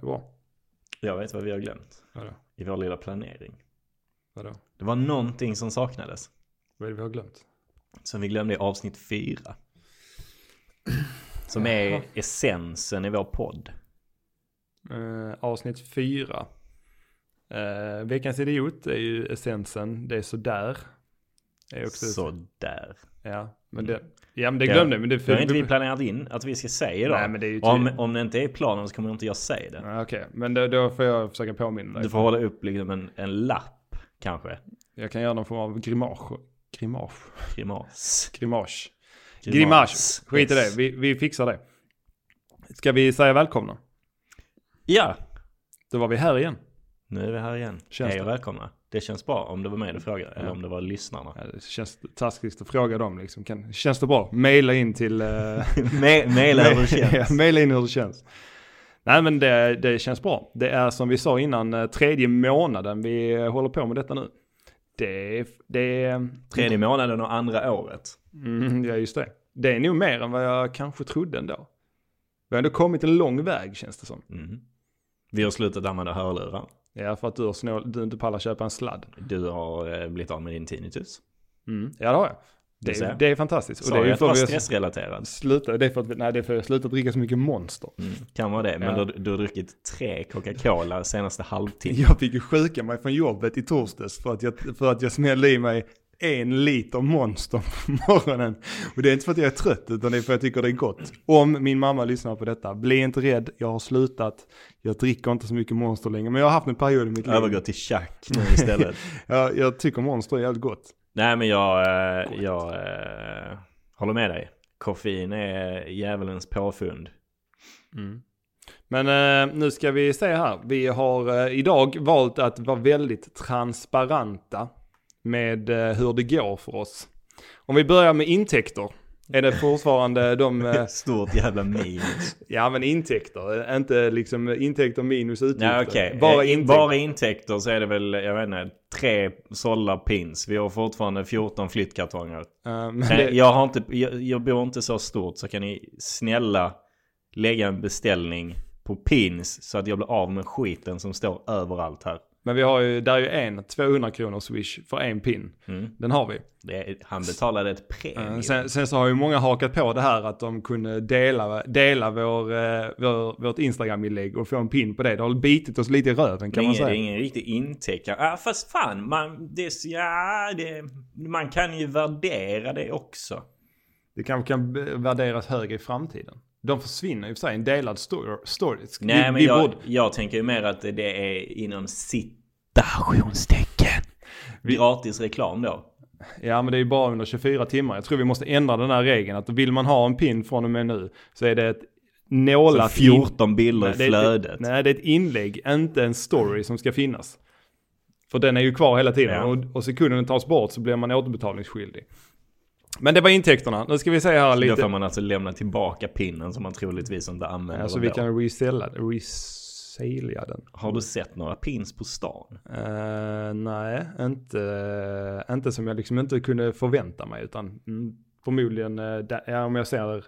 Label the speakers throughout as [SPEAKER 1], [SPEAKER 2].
[SPEAKER 1] Det var.
[SPEAKER 2] Jag vet vad vi har glömt
[SPEAKER 1] Mm. Vadå?
[SPEAKER 2] i vår lilla planering.
[SPEAKER 1] Vadå?
[SPEAKER 2] Det var någonting som saknades.
[SPEAKER 1] Vad är det vi har glömt?
[SPEAKER 2] Som vi glömde i avsnitt fyra. Som är essensen i vår podd.
[SPEAKER 1] Eh, avsnitt fyra. Eh, veckans idiot är ju essensen. Det är sådär. Det är också
[SPEAKER 2] Sådär.
[SPEAKER 1] Ja, men det, ja, men det glömde jag. Men det,
[SPEAKER 2] Det har inte vi planerat in att vi ska säga idag.
[SPEAKER 1] Nej, men det är ju
[SPEAKER 2] om,
[SPEAKER 1] tydligt.
[SPEAKER 2] om det inte är i planen så kommer inte jag säga det.
[SPEAKER 1] Ja, Okej, men då, då får jag försöka påminna dig.
[SPEAKER 2] Du får hålla upp liksom en, en lapp kanske.
[SPEAKER 1] Jag kan göra någon form av grimas. Grimas.
[SPEAKER 2] Grimas.
[SPEAKER 1] Grimas. Grimas. Skit i det.
[SPEAKER 2] Yes.
[SPEAKER 1] Vi, vi fixar det. Ska vi säga välkomna?
[SPEAKER 2] Ja,
[SPEAKER 1] Då var vi här igen.
[SPEAKER 2] nu är vi här igen.
[SPEAKER 1] Känns
[SPEAKER 2] Hej och
[SPEAKER 1] det?
[SPEAKER 2] välkomna. Det känns bra om det var mig du frågade eller om det var lyssnarna.
[SPEAKER 1] Ja, det känns taskigt att fråga dem liksom. Kan, känns det bra? Maila in till... eh,
[SPEAKER 2] Me- Maila hur det
[SPEAKER 1] Ja,
[SPEAKER 2] känns.
[SPEAKER 1] Maila in hur det känns. Nej men det, det känns bra. Det är som vi sa innan eh, tredje månaden vi eh, håller på med detta nu. Det är... Det är
[SPEAKER 2] Tredje månaden och andra året.
[SPEAKER 1] Mm, ja, just det. Det är nog mer än vad jag kanske trodde ändå. Vi har ändå kommit en lång väg känns det som.
[SPEAKER 2] Mm. Vi har slutat använda hörlurar.
[SPEAKER 1] Ja, för att du, har snål, du inte pallar köpa en sladd.
[SPEAKER 2] Du har eh, blivit av med din tinnitus.
[SPEAKER 1] Mm. Ja, det har jag.
[SPEAKER 2] Du
[SPEAKER 1] Det,
[SPEAKER 2] ser.
[SPEAKER 1] är- det är fantastiskt.
[SPEAKER 2] Sa
[SPEAKER 1] det är
[SPEAKER 2] jag att det var
[SPEAKER 1] vi har
[SPEAKER 2] stressrelaterat?
[SPEAKER 1] slutat, det är för att, vi- nej, det är för att jag har slutat dricka så mycket monster.
[SPEAKER 2] Mm, Kan vara det, men
[SPEAKER 1] Ja.
[SPEAKER 2] du, du har druckit tre Coca-Cola senaste halvtimmen.
[SPEAKER 1] Jag fick ju sjuka mig från jobbet i torsdags för att jag, för att jag smällde i mig en liter monster på morgonen. Och det är inte för att jag är trött utan det är för att jag tycker det är gott. Om min mamma lyssnar på detta, bli inte rädd, jag har slutat. Jag dricker inte så mycket monster längre, men jag har haft en period i mitt liv.
[SPEAKER 2] Övergå till tjack nu istället.
[SPEAKER 1] Jag, jag tycker monster är jävligt gott.
[SPEAKER 2] Nej men jag, eh, jag eh, håller med dig. Koffein är djävulens påfund.
[SPEAKER 1] Men eh, nu ska vi se här. Vi har eh, idag valt att vara väldigt transparenta med eh, hur det går för oss. Om vi börjar med intäkter. Är det fortfarande de, eh,
[SPEAKER 2] Stort jävla minus.
[SPEAKER 1] ja men intäkter, eh, inte liksom intäkter minus utgifter.
[SPEAKER 2] Nej okej.
[SPEAKER 1] Bara
[SPEAKER 2] Eh,
[SPEAKER 1] intäkter.
[SPEAKER 2] Bara intäkter så är det väl, jag vet inte, tre sålda pins. Vi har fortfarande 14 flyttkartonger.
[SPEAKER 1] Eh, men
[SPEAKER 2] Nej,
[SPEAKER 1] det,
[SPEAKER 2] Jag, har inte, jag, jag bor inte så stort så kan ni snälla lägga en beställning på pins så att jag blir av med skiten som står överallt här.
[SPEAKER 1] men vi har ju, där är ju en 200 kronor swish för en pin. Den har vi.
[SPEAKER 2] Mm. Det, är- han betalade ett premium.
[SPEAKER 1] Eh, Sen, sen så har ju många hakat på det här att de kunde dela, dela vår, eh, vår, vårt Instagram-inlägg och få en pin på det. Det har bitit oss lite i röven kan
[SPEAKER 2] det är
[SPEAKER 1] man säga.
[SPEAKER 2] ingen, det är ingen riktig intäkt. Ja, fast fan, man, det, är så- ja, det, man kan ju värdera det också.
[SPEAKER 1] Det kanske kan b- värderas högre i framtiden. De försvinner i och för sig, en delad story. story.
[SPEAKER 2] Nej,
[SPEAKER 1] vi,
[SPEAKER 2] men
[SPEAKER 1] vi
[SPEAKER 2] jag,
[SPEAKER 1] borde,
[SPEAKER 2] jag tänker ju mer att det är inom citationstecken. Gratis reklam då.
[SPEAKER 1] ja men det är ju bara under 24 timmar. Jag tror vi måste ändra den här regeln att vill man ha en pin från och med nu så är det ett nålat... in-
[SPEAKER 2] 14 bilder i
[SPEAKER 1] Nej, det är-
[SPEAKER 2] flödet.
[SPEAKER 1] Nej, det är ett inlägg, inte en story som ska finnas. För den är ju kvar hela tiden
[SPEAKER 2] Ja.
[SPEAKER 1] och, och sekunden den tas bort så blir man återbetalningsskyldig. Men det var intäkterna. Nu ska vi se här
[SPEAKER 2] Då får
[SPEAKER 1] lite.
[SPEAKER 2] man alltså lämna tillbaka pinnen som man troligtvis inte använder
[SPEAKER 1] Alltså vi
[SPEAKER 2] ändå.
[SPEAKER 1] kan resella, resälja den.
[SPEAKER 2] Har du sett några pins på stan?
[SPEAKER 1] Eh, nej, inte, inte som jag liksom inte kunde förvänta mig utan mm, förmodligen eh, där, ja, om jag ser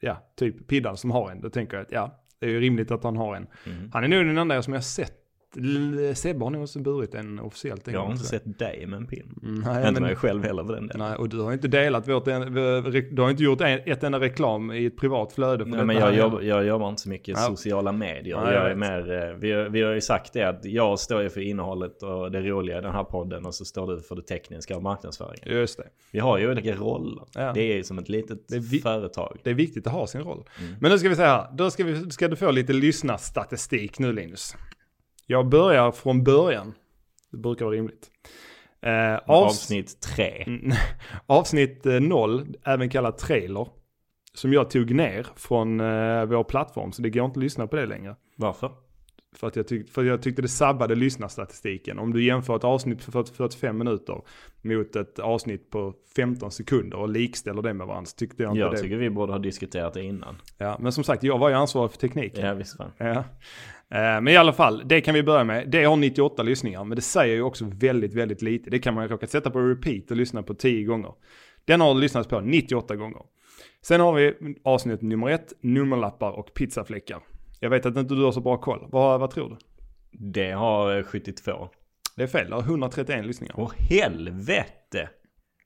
[SPEAKER 1] ja, typ Piddan som har en, då tänker jag att ja, det är ju rimligt att han har en.
[SPEAKER 2] Mm.
[SPEAKER 1] Han är nog den enda som jag har sett. L- Sebbe har nog också burit en officiellt. en
[SPEAKER 2] Jag
[SPEAKER 1] gång,
[SPEAKER 2] har inte
[SPEAKER 1] tror
[SPEAKER 2] sett dig med en pin.
[SPEAKER 1] Mm. Nej,
[SPEAKER 2] inte
[SPEAKER 1] men,
[SPEAKER 2] mig själv heller för den delen.
[SPEAKER 1] nej, och du har ju inte delat vårt, en- v- du har inte gjort en, ett enda reklam i ett privat flöde. för
[SPEAKER 2] Nej,
[SPEAKER 1] detta
[SPEAKER 2] men jag,
[SPEAKER 1] här.
[SPEAKER 2] jobbar, jag jobbar inte så mycket
[SPEAKER 1] Ja.
[SPEAKER 2] sociala medier.
[SPEAKER 1] Nej, jag
[SPEAKER 2] jag är
[SPEAKER 1] vet.
[SPEAKER 2] mer, eh, vi, har- vi har ju sagt det att jag står ju för innehållet och det roliga i den här podden och så står du för det tekniska och marknadsföringen.
[SPEAKER 1] Just det.
[SPEAKER 2] Vi har ju olika roller.
[SPEAKER 1] Ja.
[SPEAKER 2] Det är ju som ett litet
[SPEAKER 1] är vi-
[SPEAKER 2] företag.
[SPEAKER 1] Det är viktigt att ha sin roll.
[SPEAKER 2] Mm.
[SPEAKER 1] Men nu ska vi säga här, då ska, vi, ska du få lite lyssnarstatistik nu Linus. Jag börjar från början. Det brukar vara rimligt. Eh, avs- Mm.
[SPEAKER 2] Avsnitt tre.
[SPEAKER 1] avsnitt 0, även kallat trailer, som jag tog ner från eh, vår plattform, så det går inte att lyssna på det längre.
[SPEAKER 2] Varför?
[SPEAKER 1] För att, jag tyck, för jag tyckte det sabbade lyssnarstatistiken. Om du jämför ett avsnitt på 40 45 minuter mot ett avsnitt på 15 sekunder och likställer det med varandra så tyckte jag inte
[SPEAKER 2] Jag
[SPEAKER 1] det.
[SPEAKER 2] tycker vi borde ha diskuterat det innan.
[SPEAKER 1] Ja, men som sagt, jag var ju ansvarig för tekniken.
[SPEAKER 2] Ja, visst fan.
[SPEAKER 1] Ja. Eh, Men i alla fall, det kan vi börja med. Det har 98 lyssningar, men det säger ju också väldigt, väldigt lite. Det kan man ju råka sätta på repeat och lyssna på 10 gånger. Den har lyssnats på 98 gånger. Sen har vi avsnitt nummer ett, nummerlappar och pizzafläckar. Jag vet att inte du har så bra koll. Vad, vad tror du?
[SPEAKER 2] Det har eh, 72.
[SPEAKER 1] Det är fel, det har 131 lyssningar.
[SPEAKER 2] Åh helvete!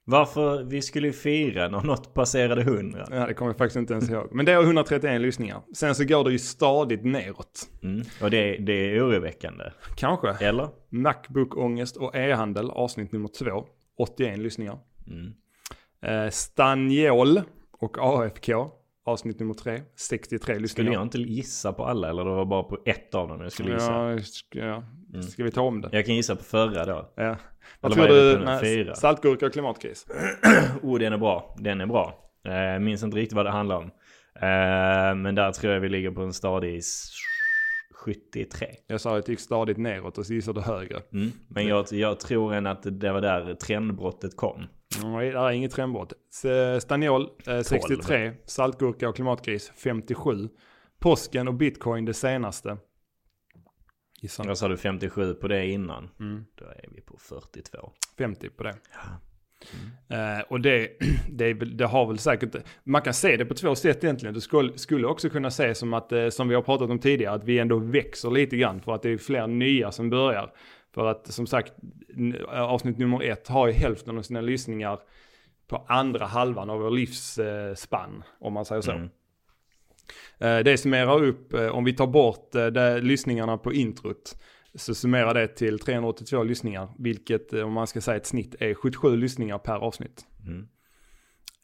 [SPEAKER 2] Varför? Vi skulle ju fira när något passerade 100.
[SPEAKER 1] Ja, det kommer jag faktiskt inte ens ihåg. Men det har 131 lyssningar. Sen så går det ju stadigt neråt.
[SPEAKER 2] Mm. Och det, det är oroväckande.
[SPEAKER 1] Kanske.
[SPEAKER 2] Eller?
[SPEAKER 1] Macbook-ångest och e-handel, avsnitt nummer två. 81 lyssningar.
[SPEAKER 2] Mm.
[SPEAKER 1] Eh, Stanjol och AFK, avsnitt nummer tre. 63
[SPEAKER 2] Skulle jag
[SPEAKER 1] lyssningar.
[SPEAKER 2] inte gissa på alla eller det var bara på ett av dem jag skulle gissa?
[SPEAKER 1] Ja, sk- ja. Ska vi ta om det?
[SPEAKER 2] Jag kan gissa på förra då.
[SPEAKER 1] Ja. Vad
[SPEAKER 2] Mm. Eller
[SPEAKER 1] tror
[SPEAKER 2] vad är det
[SPEAKER 1] du?
[SPEAKER 2] för nummer?
[SPEAKER 1] nej,
[SPEAKER 2] Fyra?
[SPEAKER 1] Saltgurka och klimatkris.
[SPEAKER 2] Oh, den är bra. Den är bra. Eh, minns inte riktigt vad det handlar om. Eh, men där tror jag vi ligger på en stadig s- 73.
[SPEAKER 1] Jag sa att det gick stadigt neråt och så gissade du högre.
[SPEAKER 2] Mm. Men jag, jag tror än att det var där trendbrottet kom.
[SPEAKER 1] Nej, Mm, det är inget trendbrott. S- Staniol eh, 63, saltgurka och klimatgris 57. Påsken och bitcoin det senaste. Gissa
[SPEAKER 2] Jag sa du 57 på det innan.
[SPEAKER 1] Mm.
[SPEAKER 2] Då är vi på 42.
[SPEAKER 1] 50 på det. Eh, och det, det, är, väl- det har väl säkert, man kan se det på två sätt egentligen. Du skulle, skulle också kunna se som att, eh, som vi har pratat om tidigare, att vi ändå växer lite grann för att det är fler nya som börjar. För att som sagt, n- avsnitt nummer ett har ju hälften av sina lyssningar på andra halvan av vår livsspann, om man säger så.
[SPEAKER 2] Mm.
[SPEAKER 1] Eh, Det summerar upp, eh, om vi tar bort eh, det, lyssningarna på introt, så summerar det till 382 lyssningar, vilket eh, om man ska säga ett snitt är 77 lyssningar per avsnitt.
[SPEAKER 2] Mm.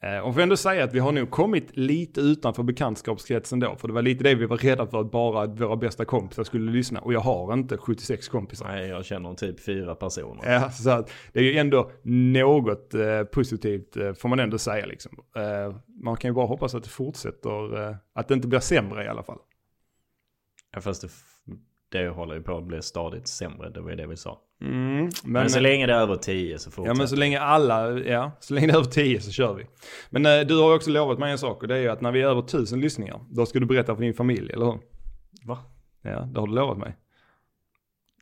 [SPEAKER 1] Eh, Och får ändå säga att vi har nog kommit lite utanför bekantskapskretsen då, för det var lite det vi var rädda för att bara våra bästa kompisar skulle lyssna, och jag har inte 76 kompisar.
[SPEAKER 2] Nej, jag känner typ fyra personer.
[SPEAKER 1] Ja, så att det är ju ändå något eh, positivt eh, får man ändå säga liksom. Eh, man kan ju bara hoppas att det fortsätter, eh, att det inte blir sämre i alla fall.
[SPEAKER 2] Ja. Fast det, f- det håller ju på att bli stadigt sämre. Det var ju det vi sa.
[SPEAKER 1] Mm,
[SPEAKER 2] Men, så länge det är över 10 så
[SPEAKER 1] Ja
[SPEAKER 2] fortsätter.
[SPEAKER 1] men så länge alla, ja, så länge det är över 10 så kör vi. Men eh, du har ju också lovat mig en sak och det är ju att när vi är över 1000 lyssningar, då ska du berätta för din familj, eller hur?
[SPEAKER 2] Va?
[SPEAKER 1] Ja, det har du lovat mig.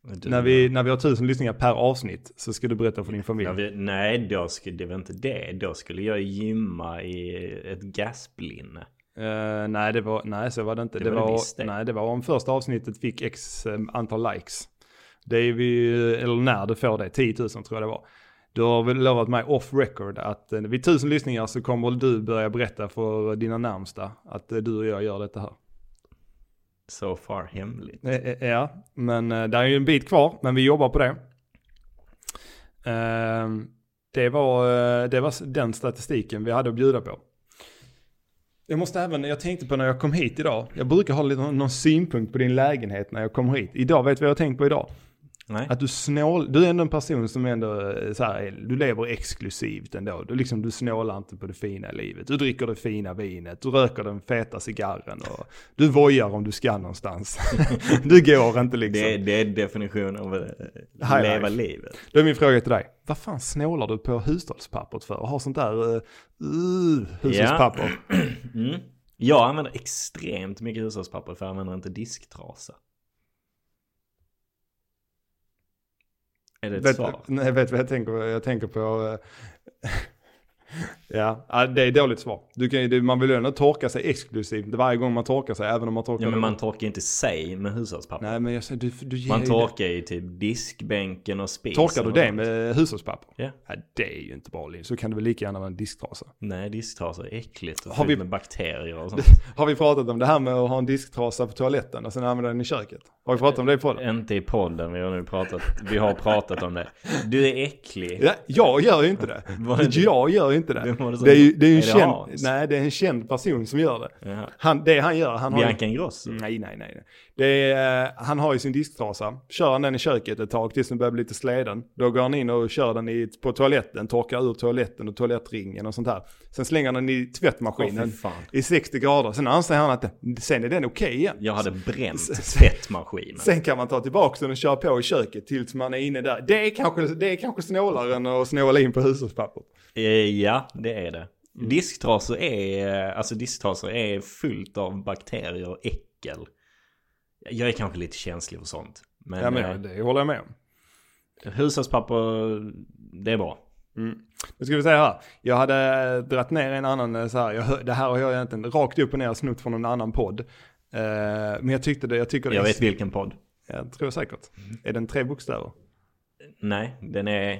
[SPEAKER 2] Du-
[SPEAKER 1] När vi, när vi har 1000 lyssningar per avsnitt så ska du berätta för din familj.
[SPEAKER 2] När vi, nej, då skulle, det var inte det. Då skulle jag gymma i ett gasplinne.
[SPEAKER 1] Eh, nej, det var, nej, så var det inte.
[SPEAKER 2] Det
[SPEAKER 1] Det,
[SPEAKER 2] var det visst
[SPEAKER 1] var,
[SPEAKER 2] det.
[SPEAKER 1] nej, det var om första avsnittet fick x eh, antal likes. Det är vi, eller när du får det, 10 000 tror jag det var. Du har väl lovat mig off record att eh, vid 1000 lyssningar så kommer du börja berätta för dina närmsta att eh, du och jag gör detta här.
[SPEAKER 2] So far hemligt.
[SPEAKER 1] Eh, eh, Ja, men eh, där är ju en bit kvar, men vi jobbar på det. Ehm, Det var, eh, det var s- den statistiken vi hade att bjuda på. Jag måste även, jag tänkte på när jag kom hit idag, jag brukar ha lite, någon synpunkt på din lägenhet när jag kommer hit. Idag, vet du vad jag har tänkt på idag?
[SPEAKER 2] Nej.
[SPEAKER 1] Att du snål, du är ändå en person som ändå eh, så här, du lever exklusivt ändå. Du, liksom, du snålar inte på det fina i livet. Du dricker det fina vinet, du röker den feta cigarren och du vojar om du ska någonstans. du går inte liksom.
[SPEAKER 2] det, det är definitionen av eh,
[SPEAKER 1] High
[SPEAKER 2] leva
[SPEAKER 1] life.
[SPEAKER 2] livet.
[SPEAKER 1] Då är min fråga till dig, vad fan snålar du på hushållspappret för? Och har sånt där uh, uh, hushållspapper?
[SPEAKER 2] Mm. Jag använder extremt mycket hushållspapper för jag använder inte disktrasa. Är det ett
[SPEAKER 1] Vet,
[SPEAKER 2] svar?
[SPEAKER 1] nej, vet vad jag tänker, jag tänker på? eh, ja, ja, det är dåligt svar. Du kan, ju- du, man vill ju ändå torka sig exklusivt varje gång man torkar sig, även om man torkar
[SPEAKER 2] Ja, men
[SPEAKER 1] det-
[SPEAKER 2] man torkar inte sig med hushållspapper.
[SPEAKER 1] Nej, men jag säger, du, du ger
[SPEAKER 2] Man
[SPEAKER 1] ju
[SPEAKER 2] torkar ju typ diskbänken och
[SPEAKER 1] det.
[SPEAKER 2] spisen.
[SPEAKER 1] Torkar du
[SPEAKER 2] och
[SPEAKER 1] det
[SPEAKER 2] sånt.
[SPEAKER 1] med hushållspapper?
[SPEAKER 2] Ja.
[SPEAKER 1] Ja, det är ju inte bra Liv. Så kan det väl lika gärna vara en disktrasa.
[SPEAKER 2] Nej, disktrasa är äckligt. Och
[SPEAKER 1] Har
[SPEAKER 2] har
[SPEAKER 1] vi-
[SPEAKER 2] vi med bakterier och sånt.
[SPEAKER 1] Har vi pratat om det här med att ha en disktrasa på toaletten och sen använda den i köket? Har vi pratat om det på det?
[SPEAKER 2] Inte i podden, vi har nu pratat, vi har pratat om det. Du är äcklig.
[SPEAKER 1] Ja, jag gör ju inte det.
[SPEAKER 2] Vad är det?
[SPEAKER 1] Jag gör ju inte det.
[SPEAKER 2] Vem var det som-
[SPEAKER 1] Det är ju det är ju en,
[SPEAKER 2] Är det
[SPEAKER 1] känd,
[SPEAKER 2] Hans?
[SPEAKER 1] nej, det är en känd person som gör det.
[SPEAKER 2] Jaha.
[SPEAKER 1] Han, det han gör, han har ju
[SPEAKER 2] Bianca Ingrosso.
[SPEAKER 1] Mm, Nej, nej, nej. nej. Det är, eh, han har ju sin disktrasa. Kör han den i köket ett tag tills den börjar bli lite sleden. Då går han in och kör den i, på toaletten, torkar ur toaletten och toalettringen och sånt här. Sen slänger han den i
[SPEAKER 2] Åh,
[SPEAKER 1] tvättmaskinen
[SPEAKER 2] fy fan.
[SPEAKER 1] i 60 grader. Sen anser han att den- sen är den okej igen.
[SPEAKER 2] Jag hade bränt tvättmaskinen.
[SPEAKER 1] Sen kan man ta tillbaka den och köra på i köket tills man är inne där. Det är kanske, det är kanske snålare än att snåla in på hushållspapper.
[SPEAKER 2] Eh, Ja, det är det.
[SPEAKER 1] Mm.
[SPEAKER 2] Disktrasor är, eh, alltså disktrasor är fullt av bakterier och äckel. Jag är kanske lite känslig för sånt. Men,
[SPEAKER 1] Ja,
[SPEAKER 2] eh,
[SPEAKER 1] men det håller jag med om.
[SPEAKER 2] hushållspapper, det är bra.
[SPEAKER 1] Nu ska vi säga här. Jag hade eh, dratt ner en annan eh, så här. Jag, hör- det här har jag egentligen rakt upp och ner snott från en annan podd. Eh, men jag tyckte det, jag tycker det
[SPEAKER 2] Jag
[SPEAKER 1] är-
[SPEAKER 2] vet Mm. vilken podd.
[SPEAKER 1] Jag tror säkert. Är den tre bokstäver?
[SPEAKER 2] Nej, den är eh,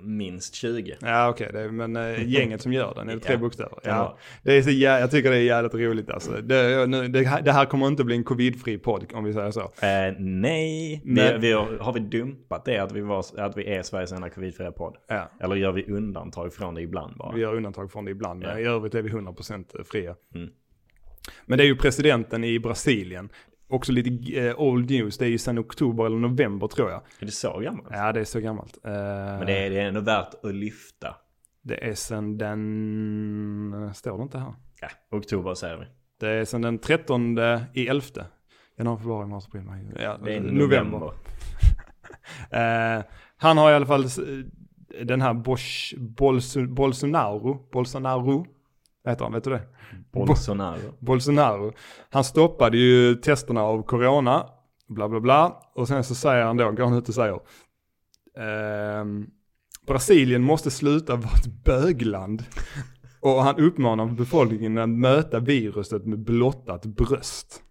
[SPEAKER 2] minst 20.
[SPEAKER 1] Ja okej, det är- men eh, gänget som gör den, är det tre
[SPEAKER 2] Ja,
[SPEAKER 1] bokstäver?
[SPEAKER 2] kan vara.
[SPEAKER 1] Ja. Det är så jä- jag tycker det är jävligt roligt alltså. Det, jag- nu, det, här- det här kommer inte bli en covidfri podd om vi säger så.
[SPEAKER 2] Eh, nej, vi,
[SPEAKER 1] Men-
[SPEAKER 2] vi har, har vi dumpat det att vi, var, att vi är Sveriges enda covidfria podd?
[SPEAKER 1] Ja.
[SPEAKER 2] Eller gör vi undantag från det ibland bara?
[SPEAKER 1] Vi gör undantag från det ibland, men
[SPEAKER 2] Ja.
[SPEAKER 1] i övrigt är vi 100% fria.
[SPEAKER 2] Mm.
[SPEAKER 1] Men det är ju presidenten i Brasilien. Också lite eh, old news, det är ju sedan oktober eller november tror jag.
[SPEAKER 2] Är det så gammalt?
[SPEAKER 1] Ja, det är så gammalt. Eh,
[SPEAKER 2] Men det är, det är ändå värt att lyfta.
[SPEAKER 1] det är sedan den... Står det inte här?
[SPEAKER 2] Ja, oktober säger vi.
[SPEAKER 1] Det är sedan den 13 i 11. Januari, februari, mars, april, maj. juni. Ja,
[SPEAKER 2] Det är november.
[SPEAKER 1] Eh, han har i alla fall eh, den här Bosch, Bolso, Bolsonaro, Bolsonaro, vad heter han, vet du det?
[SPEAKER 2] Bolsonaro.
[SPEAKER 1] Bolsonaro. Han stoppade ju testerna av corona, bla bla bla. Och sen så säger han då, går han ut och säger. Ehm, Brasilien måste sluta vara ett bögland. Och han uppmanar befolkningen att möta viruset med blottat bröst.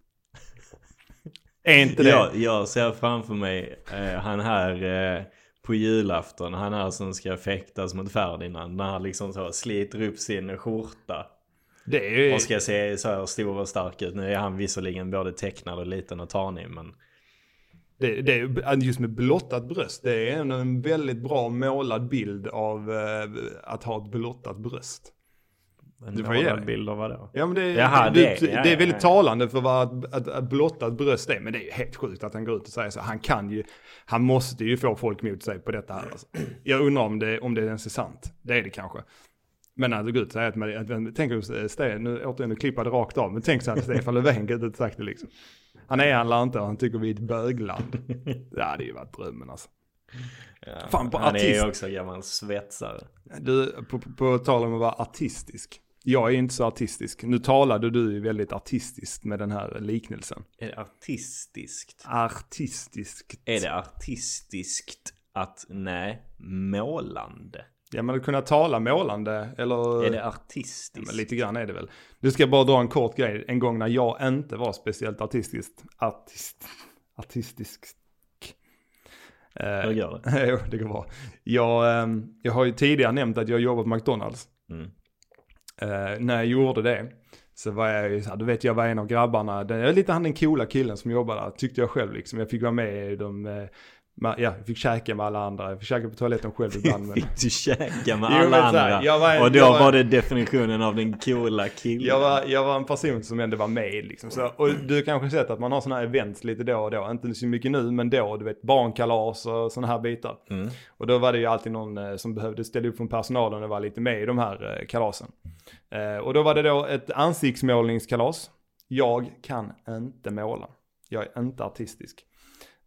[SPEAKER 1] Är inte det?
[SPEAKER 2] Jag, jag ser framför mig eh, han här eh, på julafton. Han här som ska fäktas mot Ferdinand. När han liksom så sliter upp sin skjorta.
[SPEAKER 1] det är ju...
[SPEAKER 2] Och ska se så här stor och stark ut. Nu är han visserligen både tecknad och liten och tanig. Men
[SPEAKER 1] Det, det, är- just med blottat bröst, det är en, en väldigt bra målad bild av eh, att ha ett blottat bröst.
[SPEAKER 2] en
[SPEAKER 1] Du får ge dig.
[SPEAKER 2] målad bild av vadå?
[SPEAKER 1] Ja men det,
[SPEAKER 2] Jaha,
[SPEAKER 1] det,
[SPEAKER 2] det-
[SPEAKER 1] det,
[SPEAKER 2] ja,
[SPEAKER 1] det
[SPEAKER 2] ja,
[SPEAKER 1] är väldigt
[SPEAKER 2] ja.
[SPEAKER 1] talande för vad att, att, att blottat bröst är. Men det är ju helt sjukt att han går ut och säger så. Han kan ju, han måste ju få folk mot sig på detta här. Alltså. Jag undrar om det, om det ens är sant. Det är det kanske. Men att gå ut och säga att, man, att att- tänk om eh, Ste- nu återigen, nu klipper jag det rakt av. Men tänk så här, Stefan Löfven går ut och sagt det liksom. Han är han inte och han tycker vi är ett bögland. Det hade ju varit drömmen alltså.
[SPEAKER 2] Ja,
[SPEAKER 1] Fan, på
[SPEAKER 2] han är
[SPEAKER 1] artist.
[SPEAKER 2] ju också gammal svetsare.
[SPEAKER 1] Du, på, på, på tal om att vara artistisk. Jag är inte så artistisk. Nu talade du ju väldigt artistiskt med den här liknelsen.
[SPEAKER 2] Är det artistiskt?
[SPEAKER 1] Artistiskt.
[SPEAKER 2] Är det artistiskt att, nej, målande?
[SPEAKER 1] Ja, men att kunna tala målande eller...
[SPEAKER 2] Är det
[SPEAKER 1] Ja,
[SPEAKER 2] artistiskt?
[SPEAKER 1] men lite grann är det väl. Du ska jag bara dra en kort grej. En gång när jag inte var speciellt artistiskt. Artist. Artistisk.
[SPEAKER 2] Hur
[SPEAKER 1] Eh,
[SPEAKER 2] gör det?
[SPEAKER 1] jo, det går bra. Jag, ehm, jag har ju tidigare nämnt att jag jobbar på McDonalds.
[SPEAKER 2] Mm.
[SPEAKER 1] Eh, när jag gjorde det så var jag ju så här, du vet jag var en av grabbarna, den, jag var lite han den coola killen som jobbade där, tyckte jag själv liksom. Jag fick vara med i de, eh, ma- ja, jag fick käka med alla andra, jag fick käka på toaletten själv ibland. Men
[SPEAKER 2] Fick du käka med
[SPEAKER 1] Jo,
[SPEAKER 2] alla
[SPEAKER 1] men så här,
[SPEAKER 2] andra?
[SPEAKER 1] jag var-
[SPEAKER 2] och då
[SPEAKER 1] jag
[SPEAKER 2] var...
[SPEAKER 1] var-
[SPEAKER 2] det definitionen av den coola killen.
[SPEAKER 1] jag, var, jag var en person som ändå var med liksom. Så, och du kanske sett att man har sådana här events lite då och då, inte så mycket nu men då, du vet barnkalas och sådana här bitar.
[SPEAKER 2] Mm.
[SPEAKER 1] Och då var det ju alltid någon eh, som behövde ställa upp från personalen och vara lite med i de här eh, kalasen. Eh, Och då var det då ett ansiktsmålningskalas. Jag kan inte måla. Jag är inte artistisk.